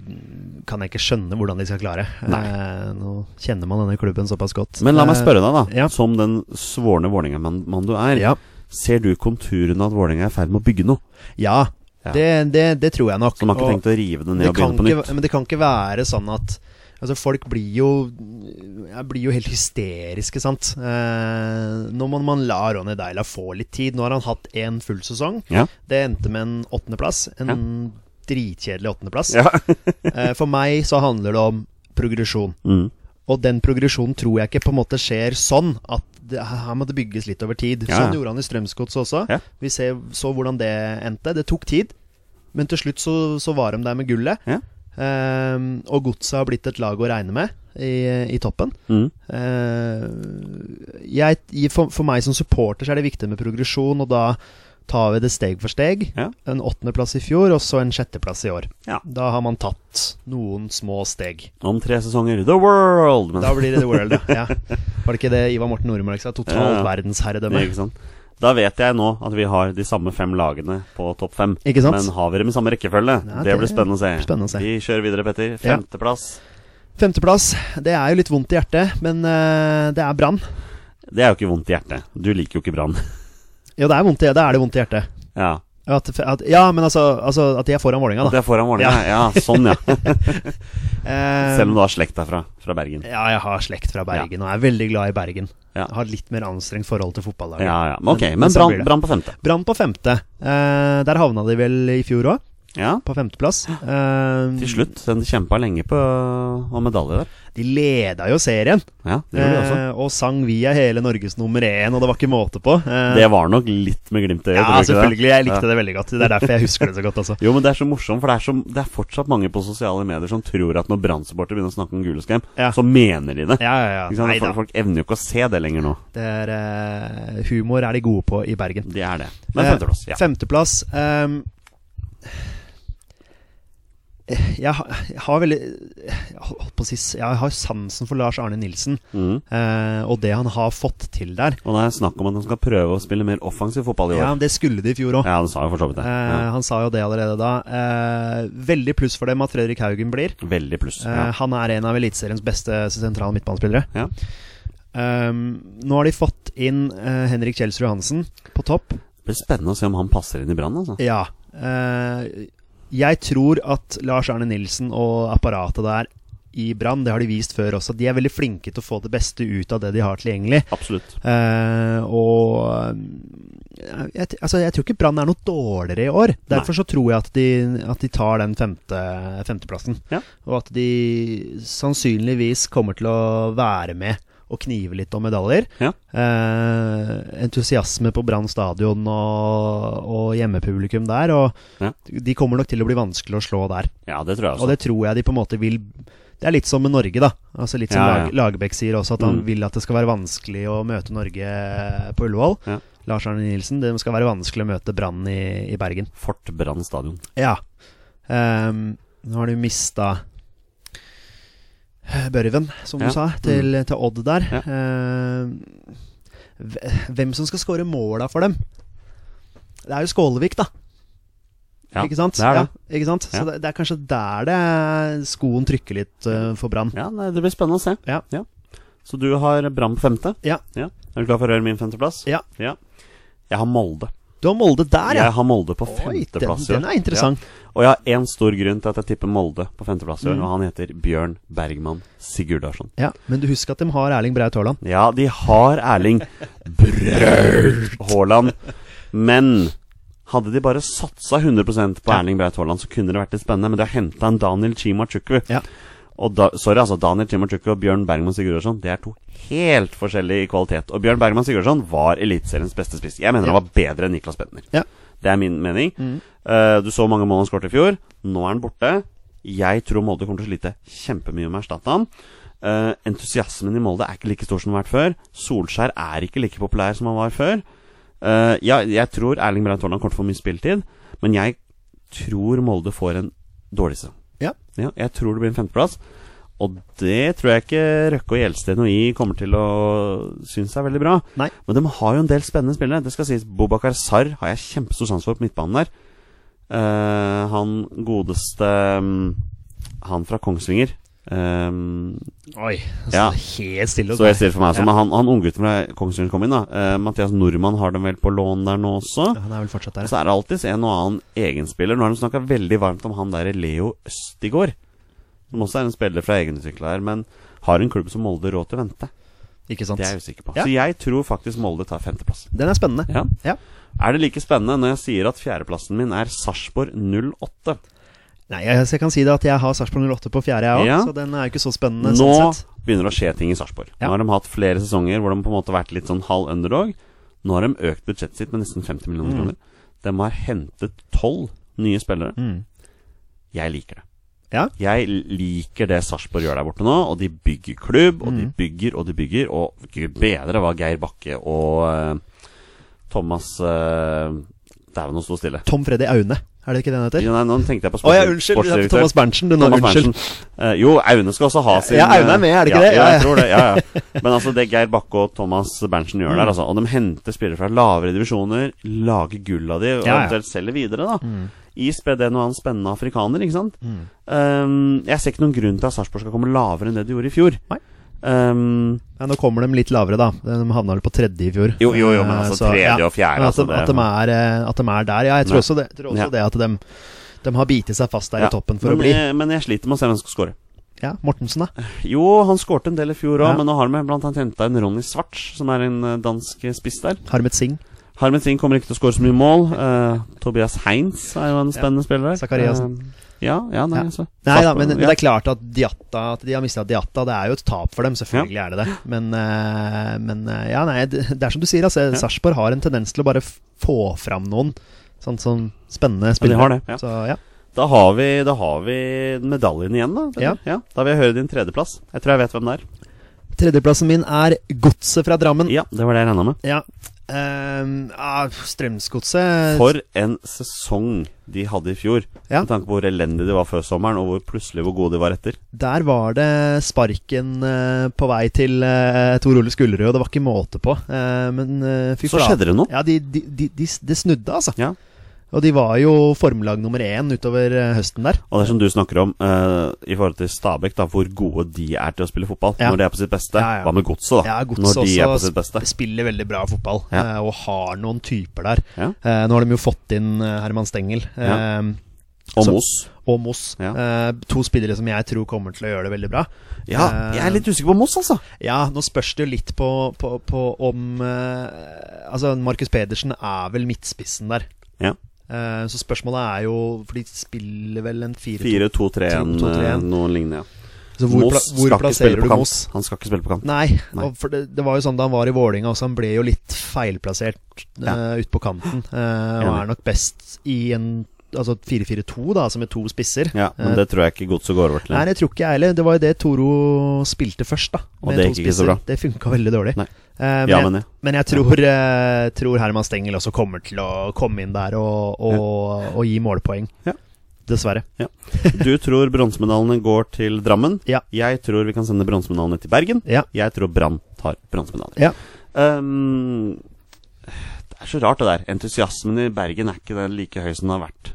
kan jeg ikke skjønne hvordan de skal klare. Eh, nå kjenner man denne klubben såpass godt. Men la meg Eh, spørre deg, da. ja. Som den svorne Vålerenga-mann du er, Ja, ser du konturene av at Vålerenga er i ferd med å bygge noe? ja. Ja. Det, det, det tror jeg nok. Så de har ikke Og tenkt å rive det ned det og kan begynne på ikke, nytt? men det kan ikke være sånn at Altså Folk blir jo jeg blir jo helt hysteriske, sant. Eh, nå må man la Ronny Deila få litt tid. Nå har han hatt én full sesong. Ja. Det endte med en åttendeplass. En dritkjedelig åttendeplass. Ja. Eh, for meg så handler det om progresjon. Mm. Og den progresjonen tror jeg ikke på en måte skjer sånn at det, her må det bygges litt over tid. Ja, ja. Sånn gjorde han i Strømsgodset også. Ja. Vi ser, så hvordan det endte. Det tok tid, men til slutt så, så var de der med gullet. Ja. Ehm, og godset har blitt et lag å regne med i, i toppen. Mm. Eh, jeg, i- for, for meg som supporter så er det viktig med progresjon, og da tar vi det steg for steg. Ja. En åttendeplass i fjor, og så en sjetteplass i år. Ja. Da har man tatt noen små steg. Om tre sesonger The World! Men, Da blir det The World, ja. ja. Var det ikke det Ivar Morten Nordmark sa? Totalt Ja, ja. verdensherredømme. ikke sant? Da vet jeg nå at vi har de samme fem lagene på topp fem. Ikke sant? Men har vi dem i samme rekkefølge? Ja, det, det blir spennende å se. spennende å se. Vi kjører videre, Petter. Femteplass. Femteplass. Det er jo litt vondt i hjertet, men eh, det er Brann. Det er jo ikke vondt i hjertet. Du liker jo ikke Brann. Jo, det er vondt i, da er det vondt i hjertet. Ja. At, at, ja, men altså, altså at de er foran Vålerenga, da. Det er foran Vålerenga. Ja. ja, sånn, ja. Eh, Selv om du har slekt derfra. Fra Bergen. ja, jeg har slekt fra Bergen og er veldig glad i Bergen. Ja. Har litt mer anstrengt forhold til fotballaget. Ja, ja. Men Ok, Men- men men sånn Brann blir det. Brann på femte. Brann på femte. Eh, der havna de vel i fjor òg, Ja. på femteplass. Eh, Til slutt. Den kjempa lenge på om medalje der. De leda jo serien, Ja, det gjorde de også. eh, og sang 'Vi er hele Norges nummer én', og det var ikke måte på. Eh, Det var nok litt med glimt i øyet. ja, tror du ikke det? selvfølgelig. Jeg likte det veldig godt. Det er derfor jeg husker det så godt, altså. Jo, men det er så morsomt, for det er, så, det er fortsatt mange på sosiale medier som tror at når Brann-supportere begynner å snakke om Guleskem, Ja. så mener de det. Ja, ja, ja. Ikke sant? Nei da. Folk, folk evner jo ikke å se det lenger nå. Det er, eh, humor er de gode på i Bergen. Det er det. Men femteplass. Eh, Ja. Femteplass ehm, jeg, har, jeg har veldig jeg holdt på å si s- Jeg har sansen for Lars Arne Nilsen Mm. eh, og det han har fått til der. Og det er snakk om at de skal prøve å spille mer offensiv fotball i år. Ja, Eh, Ja, Det skulle de i fjor òg. de sa jo for så vidt det. Ja. han sa jo det allerede da. Eh, veldig pluss for dem at Fredrik Haugen blir. Veldig pluss. Eh, Ja. Han er en av Eliteseriens beste sentrale midtbanespillere. Ja. Ehm, nå har de fått inn eh, Henrik Kjelsrud Hansen på topp. Det blir spennende å se om han passer inn i Brann, altså. Ja. eh, jeg tror at Lars Arne Nilsen og apparatet der i Brann, det har de vist før også, de er veldig flinke til å få det beste ut av det de har tilgjengelig. Absolutt. Eh, og eh, jeg, t- altså, jeg tror ikke Brann er noe dårligere i år. Derfor så tror jeg at de, at de tar den femte, femteplassen. Ja. Og at de sannsynligvis kommer til å være med og knive litt om medaljer. Ja. Eh, entusiasme på Brann stadion og, og hjemmepublikum der. Og Ja. de kommer nok til å bli vanskelig å slå der. Ja, det tror jeg Og også. det tror jeg de på en måte vil Det er litt som med Norge, da. Altså Litt som Ja, ja. Lag, Lagerbäck sier også, at han Mm. vil at det skal være vanskelig å møte Norge på Ullevål. Ja. Lars Arne Nilsen. Det skal være vanskelig å møte Brann i, i Bergen. Fort Brann stadion. Ja. Ehm, nå har du mista Børven, som Ja. Mm. du sa, til, til Odd der. Ja. Ehm, hve- hvem som skal skåre måla for dem? Det er jo Skålevik, da. Ja, ikke sant? det er det. Ja, ikke sant? Ja. Så det, det er kanskje der det skoen trykker litt eh, for Brann. Ja, nei, det blir spennende å se. Ja. Så du har Brann på femte? Ja. Er du klar for å høre min femteplass? Ja. Jeg har Molde. Du har Molde der, ja! Jeg har Molde på Oi, den, femteplass i år. den er interessant. Og jeg har én stor grunn til at jeg tipper Molde på femteplass i år, og han heter Bjørn Bergman Sigurdarsson. Ja. Men du husker at de har Erling Braut Haaland? Ja, de har Erling Braut Haaland, men hadde de bare satsa 100 på Ja. Erling Braut Haaland, så kunne det vært litt spennende. Men de har henta en Daniel Chimachukwu. Ja. Og da, sorry, altså, Daniel Chimachukwu og Bjørn Bergman Sigurdarsson Det er to helt forskjellige i kvalitet. Og Bjørn Bergman Sigurdarsson var Eliteseriens beste spiss. Jeg mener Ja. han var bedre enn Niklas Bentner. Ja. Det er min mening. Eh, du så mange mål han skåret i fjor. Nå er han borte. Jeg tror Molde kommer til å slite kjempemye med å erstatte han. Eh, entusiasmen i Molde er ikke like stor som den har vært før. Solskjær er ikke like populær som han var før. Eh, ja, jeg tror Erling Braut Haaland kommer til å få mye spilletid, men jeg tror Molde får en dårlig sesong. Ja. jeg tror det blir en femteplass. Og det tror jeg ikke Røkke og Gjelsten og I kommer til å synes er veldig bra. Nei. Men de har jo en del spennende spillere. Det skal sies Bobakar Sarr har jeg kjempestor sans for på midtbanen der. Eh, han godeste mm, Han fra Kongsvinger. Eh, Oi. Så Ja. Helt stille og så jeg ser for meg Ja. som han, han unggutten fra Kongsvinger kom inn, da. Eh, Mathias Nordmann har dem vel på lån der nå også. Ja, Han er vel fortsatt der. Så er det alltids en og annen egenspiller. Nå har de snakka veldig varmt om han der Leo Østigård. Som også er en spiller fra egenutvikla her, men har en klubb som Molde råd til å vente? Ikke sant? Det er jeg usikker på. Ja. Så jeg tror faktisk Molde tar femteplass. Den er spennende. Ja. Ja. Er det like spennende når jeg sier at fjerdeplassen min er Sarpsborg 08? Nei, jeg, jeg kan si det at jeg har Sarpsborg 08 på fjerde, jeg òg, Ja. så den er jo ikke så spennende. Nå sånn sett. begynner det å skje ting i Sarpsborg. Ja. Nå har de hatt flere sesonger hvor de på en måte har vært litt sånn halv underdog. Nå har de økt budsjettet sitt med nesten 50 millioner kroner. De har hentet tolv nye spillere. Mm. Jeg liker det. Ja. Jeg liker det Sarpsborg gjør der borte nå. Og de bygger klubb, og Mm. de bygger og de bygger. Og gud bedre hva Geir Bakke og eh, Thomas eh, Dæven, nå sto stille. Tom Freddy Aune, er det ikke det han heter? Ja, nei, nå tenkte jeg på Å ja, unnskyld. du heter Thomas Berntsen, du nå. Thomas Unnskyld. Berntsen. Eh, jo, Aune skal også ha sin eh, Ja, Aune er med, er det ikke ja, det? Ja, Ja, ja. jeg tror det. Ja, ja. Men altså, det Geir Bakke og Thomas Berntsen gjør Mm. der, altså, og de henter spillere fra lavere divisjoner, lager gull av de, og Ja, ja. Mm. eventuelt selger videre, da. I spedden og annen spennende afrikaner, ikke sant. Um, jeg ser ikke noen grunn til at Sarpsborg skal komme lavere enn det de gjorde i fjor. Nei. Um, Ja, nå kommer de litt lavere, da. De havna vel på tredje i fjor. Jo, jo, jo, men Eh, altså tredje og fjerde, Men At, altså, de, at, det- de er, eh, at de er der. Ja, jeg Ja. tror også det, jeg tror også Ja. det at de, de har bitet seg fast der ja. i toppen men, for eh, å bli. jeg- Men jeg sliter med å se hvem som skal score. Ja, Mortensen, da. Jo, han skårte en del i fjor òg, Ja. men nå har de blant annet henta en Ronny Svarts, som er en eh, dansk spiss der. Harmet Singh. Harmet Singh kommer ikke til å skåre så mye mål. Eh, Tobias Heinz er jo en spennende spiller. Zakariassen. Eh, ja, ja, nei, Ja. altså. Nei da, men ja. det er klart at Diatta At de har mista Diatta, det er jo et tap for dem. Selvfølgelig er det det. Men, eh, men eh, ja, nei, det det er som du sier, altså. Sarpsborg har en tendens til å bare f- få fram noen sånn, sånn spennende Ja, de spillere. har det, ja. Så ja. Da har vi, da har vi medaljen igjen, da. Petter. Ja. Da vil jeg høre din tredjeplass. Jeg tror jeg vet hvem det er. Tredjeplassen min er Godset fra Drammen. Ja, det var det jeg regna med. Ja. Ehm, ah, Strømsgodset For en sesong de hadde i fjor. Eh, Ja. Med tanke på hvor elendige de var før sommeren, og hvor plutselig hvor gode de var etter. Der var det sparken eh, på vei til eh, Tor Ole Skullerud, og det var ikke måte på. Eh, men eh, fy Så skjedde det noe. Ja, de, de, de, de, det snudde, altså. Ja. Og de var jo formlag nummer én utover eh, høsten der. Og det er som du snakker om eh, i forhold til Stabæk, da, hvor gode de er til å spille fotball. Ja. Når de er på sitt beste. Ja, ja. Hva med godset, da? Ja, Godset Når de er på også sitt beste. sp- spiller veldig bra fotball, Ja. eh, og har noen typer der. Ja. Eh, nå har de jo fått inn eh, Herman Stengel. Ja. eh, Og Så- Moss. Og Moss. Ja. Eh, to spillere som jeg tror kommer til å gjøre det veldig bra. Ja, Eh, jeg er litt usikker på Moss, altså. Ja, nå spørs det jo litt på, på, på om eh, Altså, Markus Pedersen er vel midtspissen der. Ja. Eh, så spørsmålet er jo For de spiller vel en 4-2 4-2-3-1, 2-3-1. noe lignende. Ja. Så hvor, Moss pla hvor skal ikke spille på plasserer du kant. Moss? Han skal ikke spille på kant. Nei, Nei. Og for det, det var jo sånn da han var i Vålinga også. Han ble jo litt feilplassert ja. Ja. ut på kanten. eh, og Enig. er nok best i en Altså 4-4-2, da, altså med to spisser. Ja, Eh, Men det tror jeg ikke godset går over til. Nei, det tror ikke jeg heller. Det var jo det Toro spilte først, da. Og med det to gikk ikke så spisser. bra. Det funka veldig dårlig. Nei. Eh, men, Ja, jeg, men ja. men jeg tror, eh, tror Herman Stengel også kommer til å komme inn der og, og, og gi målpoeng. Ja. Dessverre. Du tror bronsemedaljene går til Drammen. Ja. Jeg tror vi kan sende bronsemedaljene til Bergen. Ja. Jeg tror Brann tar bronsemedalje. Ja. Ehm, det er så rart, det der. Entusiasmen i Bergen er ikke den like høy som den har vært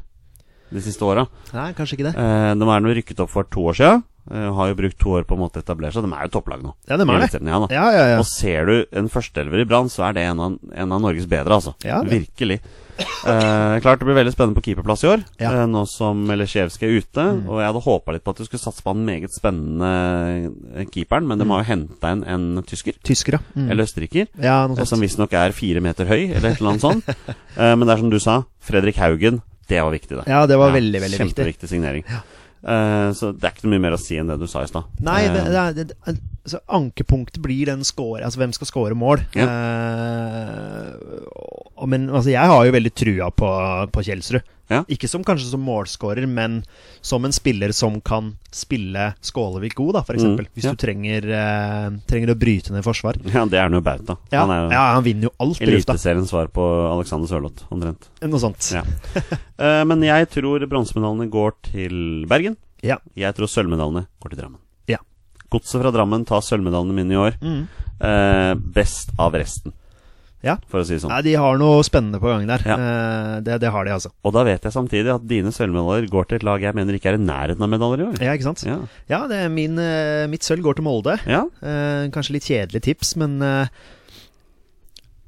de siste åra. Nei, kanskje ikke det. Eh, de er nå rykket opp for to år siden. Eh, har jo brukt to år på en måte å etablere seg. De er jo topplag nå. Ja, de er Hele det. tiden, Ja, da. Ja, ja, ja. Og ser du en førsteelver i Brann, så er det en av, en av Norges bedre, altså. Ja, det. Virkelig. Eh, klart det blir veldig spennende på keeperplass i år, Ja. Mm. eh, nå som Lesjevskij er ute. Og jeg hadde håpa litt på at du skulle satse på den meget spennende eh, keeperen, men de har jo henta inn en tysker, Tyskere. Mm. eller østerriker, Ja, noe eh, som sånt. visstnok er fire meter høy, eller et eller annet sånt. Eh, men det er som du sa, Fredrik Haugen, det var viktig, det. Ja, det var veldig, veldig viktig. Kjempeviktig signering. Eh, så det er ikke noe mye mer å si enn det du sa i stad. Nei, det, Eh, det, er- det, det, altså, ankepunktet blir den score, altså hvem skal score mål. Ja. Eh, og- men altså, jeg har jo veldig trua på, på Kjelsrud. Ja. Ikke som kanskje som målscorer, men som en spiller som kan spille Skålevik god, da, for Mm, eksempel. Hvis ja. du trenger, eh, trenger å bryte ned forsvar. Ja, det er han jo bauta. Ja, Han er jo ja, han vinner jo alt i lufta. Eliteseriens svar på Alexander Sørloth, omtrent. Noe sånt. Ja. Eh, men jeg tror bronsemedaljene går til Bergen. Ja. Jeg tror sølvmedaljene går til Drammen. Ja. Godset fra Drammen tar sølvmedaljene mine i år. Mm. Eh, best av resten, Ja. for å si det sånn. Nei, de har noe spennende på gang der. Ja. Eh, det, det har de, altså. Og da vet jeg samtidig at dine sølvmedaljer går til et lag jeg mener ikke er i nærheten av medaljer i år. Ja, ikke sant? Ja. Ja, det er min, eh, mitt sølv går til Molde. ja. Eh, kanskje litt kjedelig tips, men eh,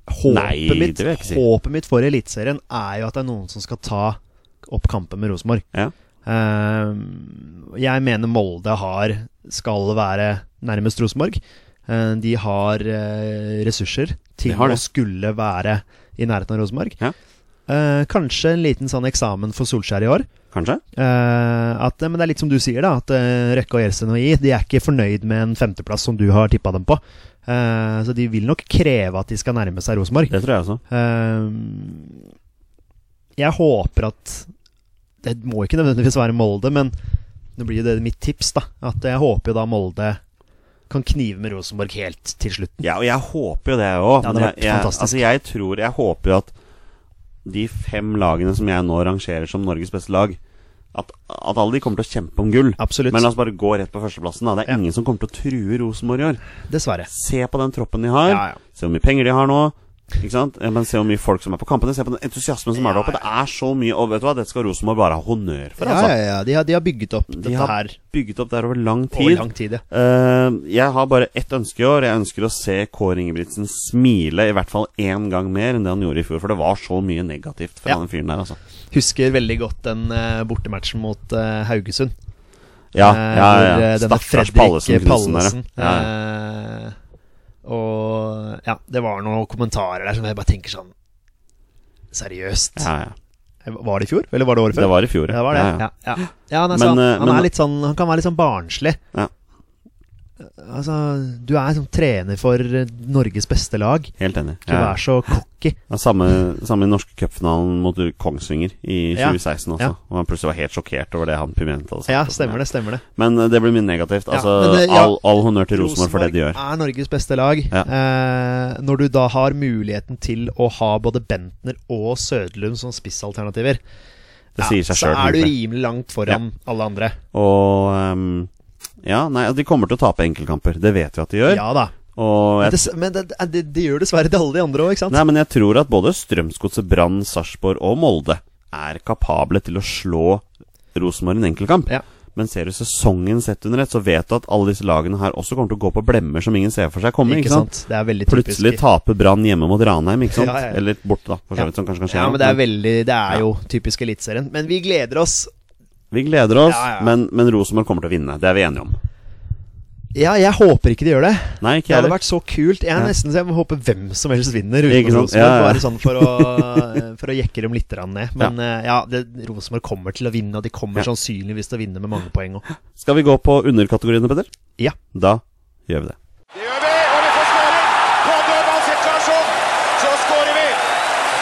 håpet, Nei, det mitt, vil jeg ikke si. håpet mitt for Eliteserien er jo at det er noen som skal ta opp kampen med Rosenborg. Ja. Eh, jeg mener Molde har skal være nærmest Rosenborg. Eh, de har eh, ressurser til De har å det. skulle være i nærheten av Rosenborg. Ja. Eh, kanskje en liten sånn eksamen for Solskjær i år. Kanskje? Eh, at, men det er litt som du sier, da. At eh, Røkke og Gjelsten og I De er ikke fornøyd med en femteplass som du har tippa dem på. Eh, så de vil nok kreve at de skal nærme seg Rosenborg. Det tror jeg også. Eh, jeg håper at Det må ikke nødvendigvis være Molde, men nå blir jo det mitt tips, da. At jeg håper jo da Molde kan knive med Rosenborg helt til slutt. Ja, og jeg håper jo det òg. Ja, det hadde vært jeg, fantastisk. altså, jeg tror Jeg håper jo at de fem lagene som jeg nå rangerer som Norges beste lag, at, at alle de kommer til å kjempe om gull. Absolutt. Men la oss bare gå rett på førsteplassen. Da. Det er Ja. ingen som kommer til å true Rosenborg i år. Dessverre. Se på den troppen de har. Ja, ja. Se hvor mye penger de har nå. Ikke sant? Eh, Men se hvor mye folk som er på kampene. Se på den entusiasmen som er der oppe. Det er så mye. Og vet du hva, dette skal Rosenborg bare ha honnør for, Ja, altså. ja, ja. De har, de har bygget opp De dette har her bygget opp der over lang tid. over lang tid. ja. Eh, jeg har bare ett ønske i år. Jeg ønsker å se Kåre Ingebrigtsen smile i hvert fall én gang mer enn det han gjorde i fjor. For det var så mye negativt fra Ja. Eh, den fyren der, altså. Husker veldig godt den eh, bortematchen mot eh, Haugesund. Ja, Eh, ja, hvor, ja. eh, denne Stakkars Fredrik Pallesen Knutsen der, Pallesen, ja. ja. eh, og ja, det var noen kommentarer der som jeg bare tenker sånn Seriøst? Eh, ja, ja. Var det i fjor, eller var det året før? Det var i fjor. Ja, det var det. Ja, ja. Ja, ja. ja han, er Men, sånn, eh, han, men- er litt sånn, han kan være litt sånn barnslig. Ja. Altså, du er sånn trener for eh, Norges beste lag. Helt enig. Ikke Ja. vær så cocky. Ja, samme, samme i norske cupfinalen mot Kongsvinger i Ja. 2016 også. Ja. Og han plutselig var helt sjokkert over det han Pimenta hadde sagt. Ja, og sånn, stemmer det. stemmer det Men eh, det blir mye negativt. Ja, Altså, men, eh, ja. all, all honnør til Rosenborg for det de gjør. er Norges beste lag. Ja. Eh, når du da har muligheten til å ha både Bentner og Sødlund som spissalternativer, Det sier seg så sjøl. er du rimelig langt foran alle andre. Og ehm, ja, nei, altså, de kommer til å tape enkeltkamper. Det vet vi at de gjør. Ja da. Og jeg, Men det, men det, det, det gjør dessverre til alle de andre òg, ikke sant? nei, men jeg tror at både Strømsgodset, Brann, Sarpsborg og Molde er kapable til å slå Rosenborg i en enkeltkamp. Ja. Men ser du sesongen sett under ett, så vet du at alle disse lagene her også kommer til å gå på blemmer som ingen ser for seg komme. ikke sant? Det er veldig typisk. Plutselig taper Brann hjemme mot Ranheim, ikke sant? Ja, ja, ja. Eller borte, da, for Ja. så vidt, som kanskje kan skje. Ja, nå. men det er veldig Det Ja. er jo typisk Eliteserien. Men vi gleder oss. Vi gleder oss, Ja, ja, ja. men, men Rosenborg kommer til å vinne. Det er vi enige om. Ja, jeg håper ikke de gjør det. Nei, ikke Det jeg hadde heller. vært så kult. Jeg er Ja. nesten så jeg håper hvem som helst vinner. Ikke Utenom sant? Rosenborg. Ja, ja. Bare sånn for å, for å jekke dem litt grann ned. Men eh, ja, det- Rosenborg kommer til å vinne, og de kommer Ja. sannsynligvis til å vinne med mange poeng òg. Skal vi gå på underkategoriene, Peder? Ja. Da gjør vi det. Det gjør vi, og vi får skåring! På dødballsituasjon så skårer vi!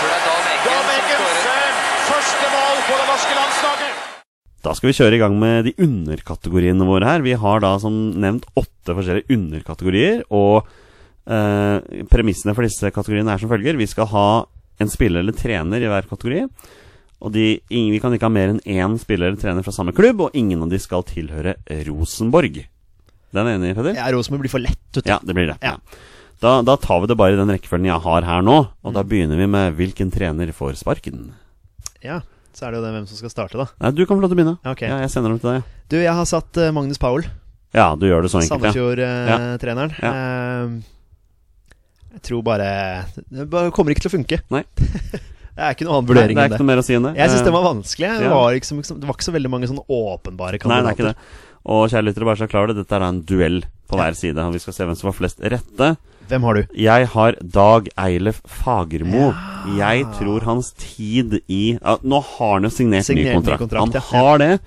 tror det er Dan Eggen Dan som Eggens skårer. eh, første mål på det norske landslaget. Da skal vi kjøre i gang med de underkategoriene våre her. Vi har da som nevnt åtte forskjellige underkategorier, og eh, premissene for disse kategoriene er som følger. Vi skal ha en spiller eller trener i hver kategori. Og de, ingen, vi kan ikke ha mer enn én spiller eller trener fra samme klubb, og ingen av de skal tilhøre Rosenborg. Den er enig, Peder? Ja, Rosenborg blir for lett, vet du. Ja, det blir det. Ja. Da, da tar vi det bare i den rekkefølgen jeg har her nå, og Mm. da begynner vi med hvilken trener får sparken. Ja. Så er det jo det hvem som skal starte, da. Nei, du kan få lov til å begynne. Ja, ok. Ja, jeg sender dem til deg. Du, jeg har satt eh, Magnus Powell, Ja, du gjør det så enkelt, ja. Sandefjord-treneren. Eh, jeg tror bare Det bare kommer ikke til å funke. Nei. det er ikke noe annen Nei, vurdering det er enn ikke det. noe mer å si enn det. Jeg syns Eh, den var vanskelig. Det ja. var, ikke, så- det var ikke så veldig mange sånne åpenbare Eh, Nei, kandidater. det er ikke det. Og kjære lyttere, bare så klar det, dette er da en duell på hver side. Og vi skal se hvem som har flest rette. Hvem har du? Jeg har Dag Eilef Fagermo. Jeg tror hans tid i ja, Nå har han jo signert, Signert ny ny kontrakt. kontrakt, ja. han har det.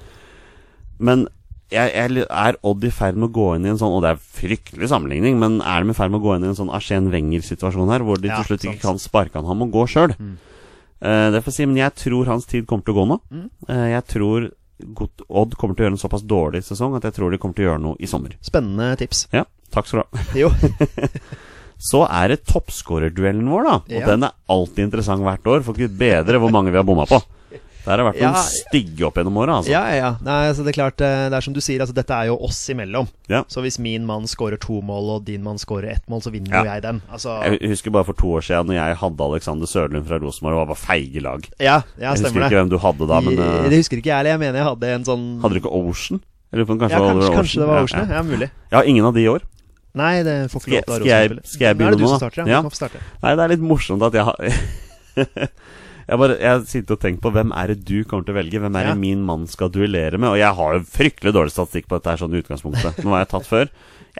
Men jeg, jeg, er Odd i ferd med å gå inn i en sånn Og det er fryktelig sammenligning, men er de i ferd med å gå inn i en sånn Arsène Wenger-situasjon her, hvor de Ja, til slutt sant. Mm. ikke kan sparke han, han må gå sjøl? Eh, det får jeg si, men jeg tror hans tid kommer til å gå nå. Mm. Eh, jeg tror godt- Odd kommer til å gjøre en såpass dårlig sesong at jeg tror de kommer til å gjøre noe i sommer. Spennende tips. Ja, takk skal du ha. Jo. Så er det toppskårerduellen vår, da. Og Ja. den er alltid interessant hvert år. Får ikke bedre hvor mange vi har bomma på. Der har det vært Ja. noen stygge opp gjennom åra, altså. Ja, ja, ja. Nei, altså, det er klart, eh, det er som du sier, altså, dette er jo oss imellom. Ja. Så hvis min mann scorer to mål, og din mann scorer ett mål, så vinner Ja. jo jeg den. Altså, Jeg husker bare for to år siden når jeg hadde Alexander Sørlund fra Rosenborg og var bare feige lag. ja, ja, jeg husker stemmer ikke det. hvem du hadde da, men I- eh, det husker ikke jeg heller. Jeg mener jeg hadde en sånn hadde du ikke Ocean? Jeg lurer på om kanskje, ja, det var kanskje, Ocean. kanskje det var Ocean, ja. Ja, ja. ja. Mulig. Jeg har ingen av de i år. Nei, det får ikke Skal jeg- lov til skal å jeg- være Rosenborg. skal jeg Nå er det begynne du nå, som da? starter, ja. Ja. Du kan få starte. Nei, det er litt morsomt at jeg har Jeg bare, jeg sitter og tenker på hvem er det du kommer til å velge, hvem er det Ja. min mann skal duellere med? Og jeg har jo fryktelig dårlig statistikk på dette her sånn i utgangspunktet. Nå har jeg tatt før.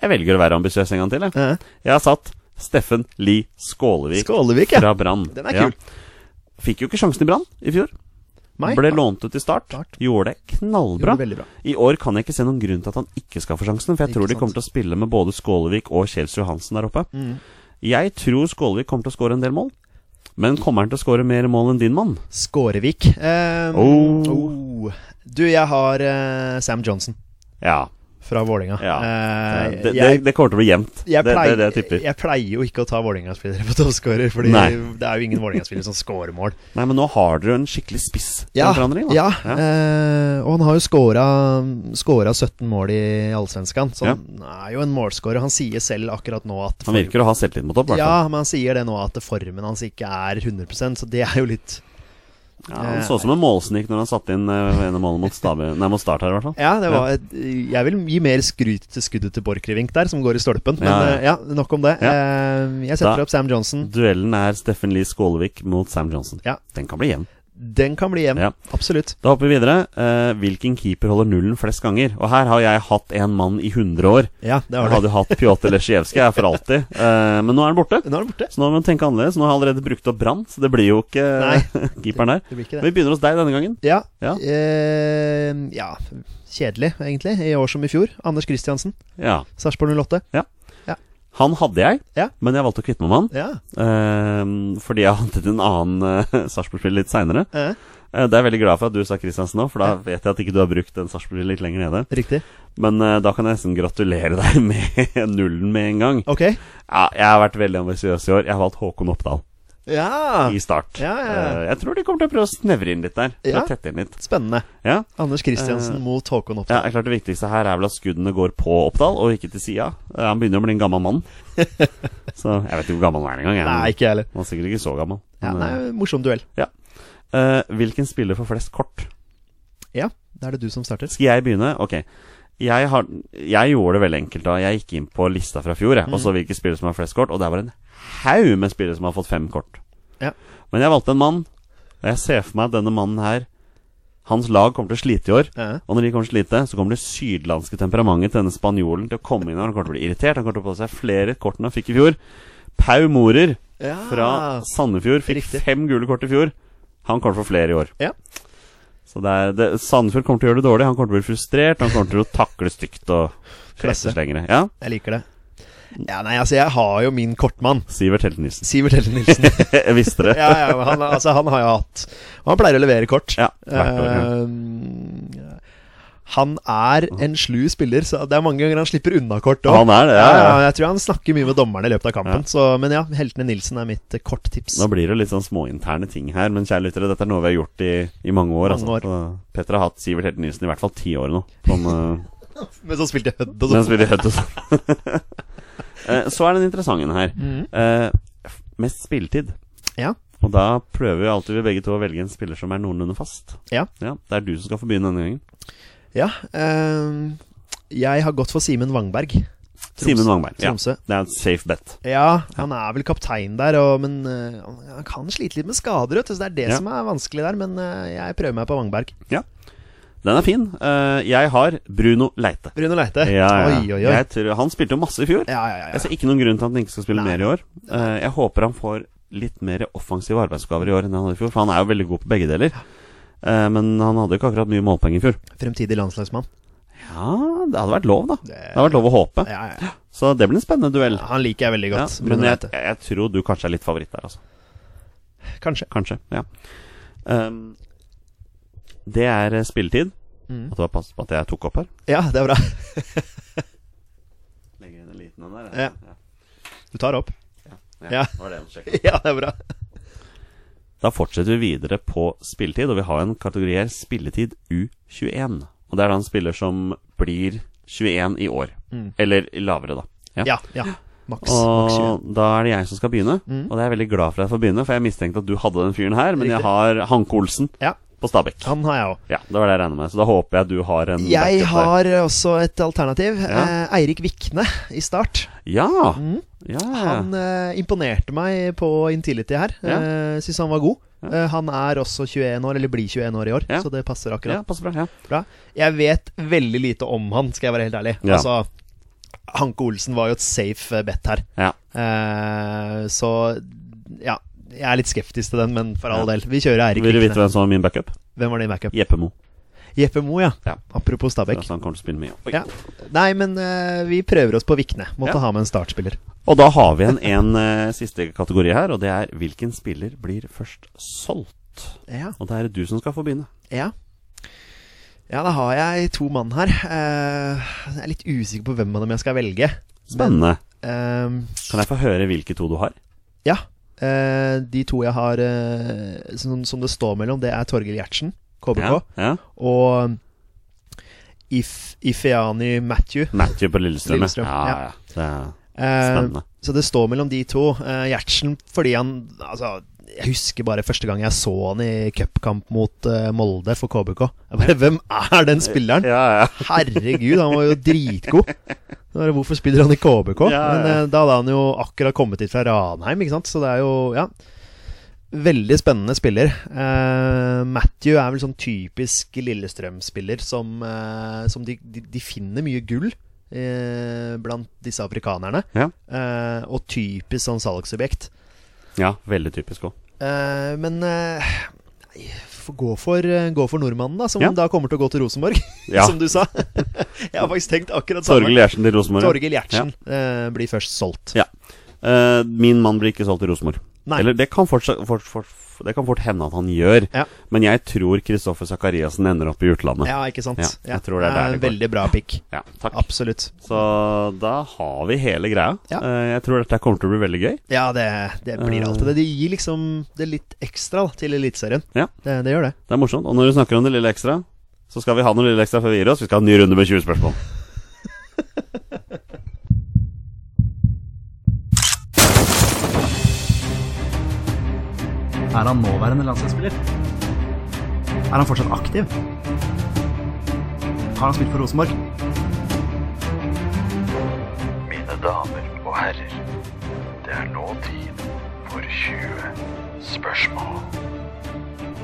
Jeg velger å være ambisiøs en gang til, jeg. Ja. Jeg har satt Steffen Lie Skålevik Skålevik, ja. fra Brann. Den er Ja. kul. Fikk jo ikke sjansen i Brann i fjor. Nei. Ble lånt ut i start. Start. Gjorde det knallbra. Gjorde veldig bra. I år kan jeg ikke se noen grunn til at han ikke skal få sjansen, for jeg Ikke tror de sant. Mm. kommer til å spille med både Skålevik og Kjels Johansen der oppe. Jeg tror Skålevik kommer til å skåre en del mål, men kommer han til å skåre mer mål enn din mann? Skårevik. Eh, Oh. oh. Du, jeg har eh, Sam Johnson Ja. fra Vålinga. Ja. Eh, det, det, jeg, det kommer til å bli jevnt. Det, jeg, det pleier, er det jeg tipper. jeg pleier jo ikke å ta Vålinga-spillere på toppskårer, Fordi Nei. det er jo ingen Vålinga-spillere som scorer mål. Nei, men nå har dere jo en skikkelig spiss. til Ja, forandring, da. ja. Eh, og han har jo scora, scora 17 mål i Allsvenskan, så Ja. han er jo en målscorer. Han sier selv akkurat nå at Han virker å ha selvtillit mot opp, i hvert fall. Ja, men han sier det nå at formen hans ikke er 100 så det er jo litt Ja, han så ut som en målsnik når han satte inn eh, ene målet mot, Stabe, nei, mot Start her, i hvert fall. Ja, det var et, jeg vil gi mer skryt til skuddet til Borchgrevink der, som går i stolpen. Men Ja, ja. eh, ja, nok om det. Ja. Eh, jeg setter Da- opp Sam Johnson. Duellen er Steffen Lie Skålevik mot Sam Johnson. Ja. Den kan bli jevn. Den kan bli jevn. Ja. Absolutt. Da hopper vi videre. Eh, hvilken keeper holder nullen flest ganger? Og her har jeg hatt en mann i 100 år. Ja, det Jeg har du. hadde jo hatt Pjotr Lesjevskij her for alltid, eh, men nå er han borte. Nå er den borte. Så nå må vi tenke annerledes. Nå har jeg allerede brukt opp Brann, så det blir jo ikke Nei. keeperen der. Det blir ikke Men det. vi begynner hos deg denne gangen. Ja. Ja. Eh, ja. Kjedelig, egentlig. I år som i fjor. Anders Kristiansen. Ja. Sarpsborg 08. Han hadde jeg, Ja. men jeg valgte å kvitte meg med han. Ja. eh, fordi jeg hadde en annen eh, Sarpsborg-spiller litt seinere. Eh, Eh, det er jeg veldig glad for at du sa Kristiansen nå, for da vet jeg at ikke du har brukt den Sarpsborg litt lenger nede. riktig. Men eh, da kan jeg nesten gratulere deg med nullen med en gang. Ok. Ja, jeg har vært veldig ambisiøs i år. Jeg har valgt Håkon Oppdal Ja. i start. Ja, ja, ja. Eh, Jeg tror de kommer til å prøve å snevre inn litt der. Ja. Ja. Tette inn litt. Spennende. Ja. Anders Kristiansen Eh, mot Håkon Ja, Oppdal. det er klart det viktigste her er vel at skuddene går på Oppdal, og ikke til sida. Eh, Han begynner å bli en gammel mann. Så jeg vet ikke hvor gammel han er engang. jeg. Nei, ikke jeg heller. Han er sikkert ikke så gammel. Ja, Men, nei, eh, morsom duell. eh, hvilken spiller får flest kort? Ja, da er det du som starter. Skal jeg begynne? Ok. Jeg, har, jeg gjorde det veldig enkelt da. Jeg gikk inn på lista fra fjor jeg, og Mhm. så hvilke spillere som har flest kort. Og der var det en haug med spillere som har fått fem kort. Ja. Men jeg valgte en mann, og jeg ser for meg at denne mannen her Hans lag kommer til å slite i år. Ja. Og når de kommer til å slite, så kommer det sydlandske temperamentet til denne spanjolen til å komme inn. og Han kommer til å bli irritert. Han kommer til å få seg flere kort enn han fikk i fjor. Pau Morer Ja. fra Sandefjord fikk Riktig. fem gule kort i fjor. Han kommer til å få flere i år. Ja. Så det er, det, Sandefjord kommer til å gjøre det dårlig. Han kommer til å bli frustrert. Han kommer til å takle stygt og Klasse. slengere. Ja, Jeg liker det. Ja, nei, altså, jeg har jo min kortmann. Sivert Helten Nilsen. Sivert Helle Nilsen. Jeg visste det. ja, ja, men han, altså, han har jo hatt Og han pleier å levere kort. Ja, hvert år. Ja. Eh, han er en slu spiller, så det er mange ganger han slipper unna kort òg. Han er det, ja, ja. Jeg tror han snakker mye med dommerne i løpet av kampen. Ja. Så, men ja, Heltene Nilsen er mitt eh, korttips. Nå blir det litt sånn småinterne ting her, men kjære lyttere, dette er noe vi har gjort i, i mange år. Mange altså. år. Så Petter har hatt Sivert Helten Nilsen i hvert fall ti år nå. Sånn, eh, Men så spilte jeg Hødd Men og sånn. spiller høyt og sånn. Eh, Så er den interessante her. Mm. Eh, f- Mest spilletid. Ja. Og da prøver vi alltid vi begge to å velge en spiller som er noenlunde fast. Ja. Det er du som skal få begynne denne gangen. Ja, eh, jeg har gått for Simen Wangberg. Troms- Simen Wangberg. Ja. Tromsø. Det er et safe bet. Ja, han er vel kaptein der, og, men eh, han kan slite litt med skader, vet du. Så det er det Ja. som er vanskelig der, men eh, jeg prøver meg på Wangberg. Den er fin. Eh, Jeg har Bruno Leite. Bruno Leite. Ja, ja. Oi, oi, oi. Jeg tror, han spilte jo masse i fjor. Ja, ja, ja, Jeg ja. ser ikke noen grunn til at han ikke skal spille Nei. mer i år. Eh, Jeg håper han får litt mer offensive arbeidsoppgaver i år enn han hadde i fjor, for han er jo veldig god på begge deler. Eh, Men han hadde jo ikke akkurat mye målpoeng i fjor. Fremtidig landslagsmann. Ja, det hadde vært lov, da. Det- Det hadde vært lov å håpe. Ja, ja, ja. Så det blir en spennende duell. Han liker jeg veldig Ja, godt. men Bruno jeg, Leite. jeg, jeg tror du kanskje er litt favoritt der, altså. Kanskje. Kanskje. Ja. Ehm, det er eh, spilletid. Mm. At du har passet på at jeg tok opp her. Ja, det er bra. Legger inn en liten en der. jeg. Du tar opp. Ja. Ja, det er bra. Da fortsetter vi videre på spilletid, og vi har en kategori her, spilletid U21. Og det er da en spiller som blir 21 i år. Eller lavere, da. Mm. Ja, ja. Maks. maks 20. Og da er det jeg som skal begynne, Mm. og det er jeg veldig glad for at jeg får begynne, for jeg mistenkte at du hadde den fyren her, men jeg har Hanke Olsen Ja. på Stabekk. Han har jeg òg. Ja, det var det jeg regna med, så da håper jeg du har en Jeg backup der. har også et alternativ. Ja. Eh, Eirik Vikne i start. Ja! ja. Mm. Han eh, imponerte meg på Intility her. Ja. Eh, Syns han var god. Eh, han er også 21 år, eller blir 21 år i år, Ja. så det passer akkurat ja, passer bra. Ja. bra. Jeg vet veldig lite om han, skal jeg være helt ærlig. Ja. Altså, Hanke Olsen var jo et safe eh, bet her. Ja. Eh, så ja, jeg er litt skeptisk til den, men for all del. Vi kjører Eirik Vil du vite Vikne. hvem som var min backup? Hvem var din backup? Jeppe Mo. Jeppe Mo, ja. Ja. Apropos Så Stabæk. han kommer til å spille mye. Oi. Ja. Nei, men eh, vi prøver oss på Vikne. Måtte Ja. ha med en startspiller. Og da har vi en, en eh, siste kategori her, og det er hvilken spiller blir først solgt? Ja, Og det er det du som skal få begynne. ja Ja, da har jeg to mann her. Eh, jeg er litt usikker på hvem av dem jeg skal velge. Spennende. Eh, Kan jeg få høre hvilke to du har? ja. Eh, de to jeg har eh, som, som det står mellom, det er Torgill Gjertsen, KBK, Ja, ja. og If, Ifeani Matthew. Matthew på Lillestrøm. Lillestrøm, Ja, ja. Det er Eh, spennende. Så det står mellom de to. Eh, Gjertsen fordi han Altså, jeg husker bare første gang jeg så han i cupkamp mot eh, Molde for KBK. Jeg bare, Hvem er den spilleren? Ja, ja. Herregud, han var jo dritgod! Så bare, Hvorfor spiller han i KBK? Ja, ja. Men eh, da hadde han jo akkurat kommet hit fra Ranheim, ikke sant? Så det er jo Ja. Veldig spennende spiller. Eh, Matthew er vel sånn typisk Lillestrøm-spiller som, eh, som de, de, de finner mye gull eh, blant disse afrikanerne. Ja. Eh, og typisk sånn salgsobjekt. ja veldig typisk òg. Eh, men eh, nei, f- gå, for, eh, gå for nordmannen, da, som Ja. da kommer til å gå til Rosenborg, Ja. som du sa. jeg har faktisk tenkt akkurat Torgill samme. Gjertsen til Rosenborg. Torgill Gjertsen eh, blir først solgt. Ja. Eh, min mann blir ikke solgt til Rosenborg. Nei. Eller det kan, fortsatt, fort, fort, det kan fort hende at han gjør, Ja. men jeg tror Kristoffer Sakariassen ender opp i utlandet. Ja, ikke sant? Ja, jeg tror det er der det går. Veldig bra pick. Ja, takk. Absolutt. Så da har vi hele greia. Ja. Eh, jeg tror dette kommer til å bli veldig gøy. Ja, det, det blir Eh. alltid det. Det gir liksom det litt ekstra da, til Eliteserien. Ja. Det, det gjør det. Det er morsomt. Og når du snakker om det lille ekstra, så skal vi ha noe lille ekstra før vi gir oss. Vi skal ha en ny runde med 20 spørsmål. Er han nåværende landslagsspiller? Er han fortsatt aktiv? Har han spilt for Rosenborg? Mine damer og herrer, det er nå tid for 20 spørsmål.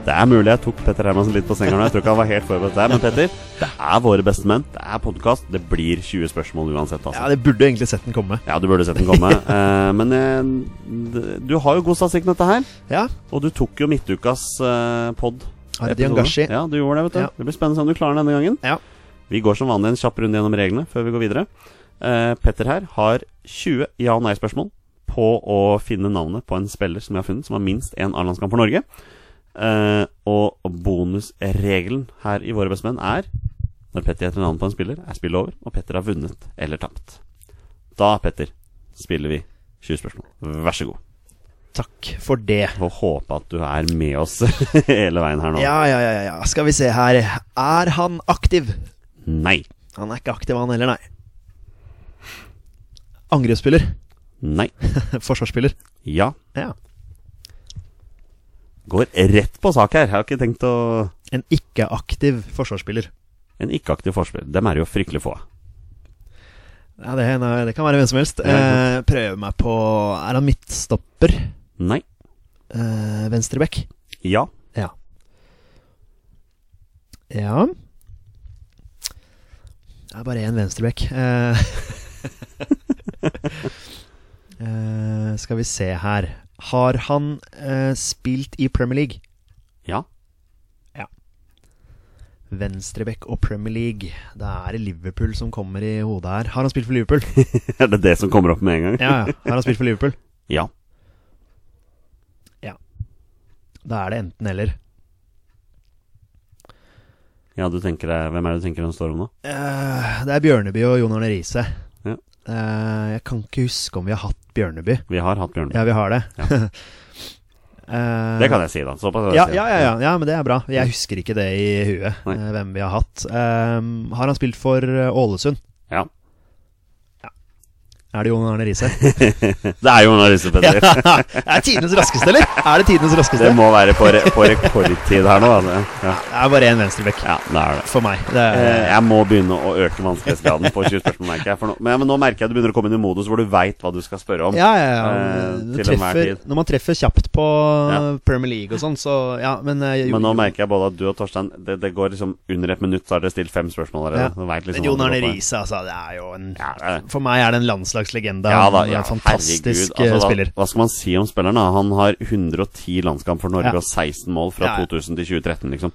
Det er mulig jeg tok Petter Hermansen litt på senga nå. Jeg tror ikke han var helt forberedt der. Men Petter, det er våre beste menn. Det er podkast. Det blir 20 spørsmål uansett, altså. Ja, Det burde egentlig sett den komme. Ja, du burde sett den komme. Eh, men eh, d- du har jo god statistikk med dette her. Ja, Og du tok jo midtukas eh, pod. Ardi Angashi. Ja, du gjorde det, vet du. Ja. Det blir spennende å se om du klarer den denne gangen. Ja. Vi går som vanlig en kjapp runde gjennom reglene før vi går videre. Eh, Petter her har 20 ja- og nei-spørsmål på å finne navnet på en spiller som vi har funnet, som har minst én A-landskamp for Norge. Eh, og bonusregelen her i Våre bestemenn er når Petter gjetter navnet på en spiller, er spillet over, og Petter har vunnet eller tapt. Da, Petter, spiller vi 20 spørsmål. Vær så god. Takk for det. Får håpe at du er med oss hele veien her nå. Ja, ja, ja, ja, ja. Skal vi se her. Er han aktiv? Nei. Han er ikke aktiv, han heller, nei. Angrepsspiller. Nei. Forsvarsspiller. Ja. Ja. Går rett på sak her. Jeg har ikke tenkt å En ikke-aktiv forsvarsspiller. En ikke-aktiv forspiller. Dem er det jo fryktelig få av. Ja, det, nei, det kan være hvem som helst. Ja, Eh, prøve meg på Er han midtstopper? Nei. Eh, Venstreback? Ja. Ja. Ja Det er bare én venstreback. Eh, eh, skal vi se her Har han eh, spilt i Premier League? Ja. Venstreback og Premier League. Da er det Liverpool som kommer i hodet her. Har han spilt for Liverpool? Er det det som kommer opp med en gang? Ja, ja. Har han spilt for Liverpool? Ja. Da er det enten-eller. Ja, du tenker deg Hvem er det du tenker den står om nå? Eh, det er Bjørneby og Jon Arne Riise. Ja. Eh, jeg kan ikke huske om vi har hatt Bjørneby. Vi har hatt Bjørneby. Ja, vi har det. Ja. Eh, Det kan jeg si, da. Såpass. kan jeg Ja, si. ja, ja, ja, ja, men det er bra. Jeg husker ikke det i huet, Nei. eh, hvem vi har hatt. Eh, har han spilt for eh, Ålesund? Ja. Er det Jon Arne Riise? Det er jo en av disse, Petter. er det tidenes raskeste, eller? Er det tidenes raskeste? Det må være på, re på rekordtid her nå. Altså. Ja. Det er bare én venstrebekk ja, det er det. for meg. Det Eh, er, Jeg må begynne å øke vanskelighetsgraden på 20 spørsmål, merker jeg. For nå, men, men nå merker jeg at du begynner å komme inn i modus hvor du veit hva du skal spørre om. ja, ja, ja. eh, Du til enhver treffer, tid. når man treffer kjapt på Ja. Premier League og sånn, så ja, men eh, Men nå Jon- merker jeg både at du og Torstein Det, det går liksom under et minutt, så har dere stilt fem spørsmål Ja. allerede. Du vet liksom Men Jon hva det Arne går på. Riise, altså. Det er jo en Ja, det er det. For meg er det en landslagslegende. Ja da, Han er ja, en fantastisk eh, herregud. Altså, spiller. Hva, hva skal man si om spilleren? da? Han har 110 landskamp for Norge Ja. og 16 mål fra Ja, ja. 2000 til 2013, liksom.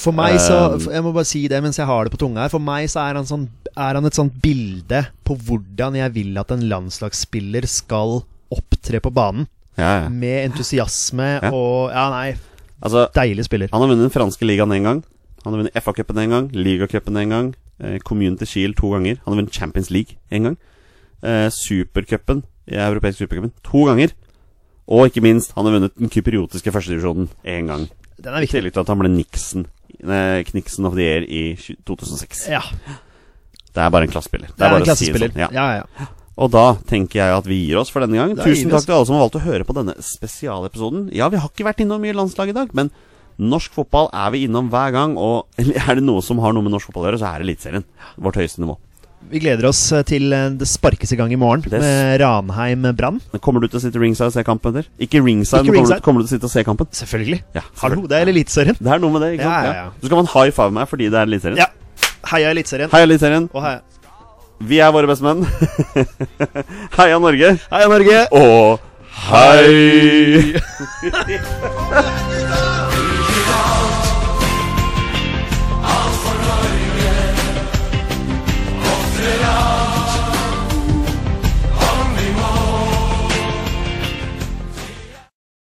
For meg så Um, for- Jeg må bare si det mens jeg har det på tunga her. For meg så er han, sånn, er han et sånt bilde på hvordan jeg vil at en landslagsspiller skal opptre på banen. Ja, ja. Med entusiasme Ja. og Ja, nei, Mm. Altså, deilig spiller. han har vunnet den franske ligaen én gang. Han har vunnet FA-cupen én gang, ligacupen én gang, eh, Community Shield to ganger. Han har vunnet Champions League én gang. Eh, Supercupen, eh, europeisk supercupen, to ganger. Og ikke minst, han har vunnet den kypriotiske førstedivisjonen én gang. Den er I viktig. tillegg til at han ble Nixon, eh, Knixon of the Year i 20- 2006. Ja, Det er bare en klassespiller. det er bare å en si det klassespiller. sånn, ja. ja, ja. ja. Og da tenker jeg at vi gir oss for denne gang. Da gir Tusen vi oss. takk til alle som har valgt å høre på denne spesialepisoden. Ja, vi har ikke vært innom mye landslag i dag, men norsk fotball er vi innom hver gang. Og er det noe som har noe med norsk fotball å gjøre, så er det Eliteserien. Vårt høyeste nivå. Vi gleder oss eh, til eh, det sparkes i gang i morgen Det s- med Ranheim Brann. Men Kommer du til å sitte ringside og se kampen, Petter? Ikke ringside, men Ikke kommer ringside. du, kommer du til å sitte og se kampen? Selvfølgelig. Ja, Hallo, selvfølgelig. det er Eliteserien. Det er noe med det, ikke Ja, sant? ja, ja. Så skal man high five meg fordi det er Eliteserien. Ja. Heia Eliteserien. Heia Eliteserien. Og heia, Vi er våre beste menn. Heia Norge. heia Norge! Og hei!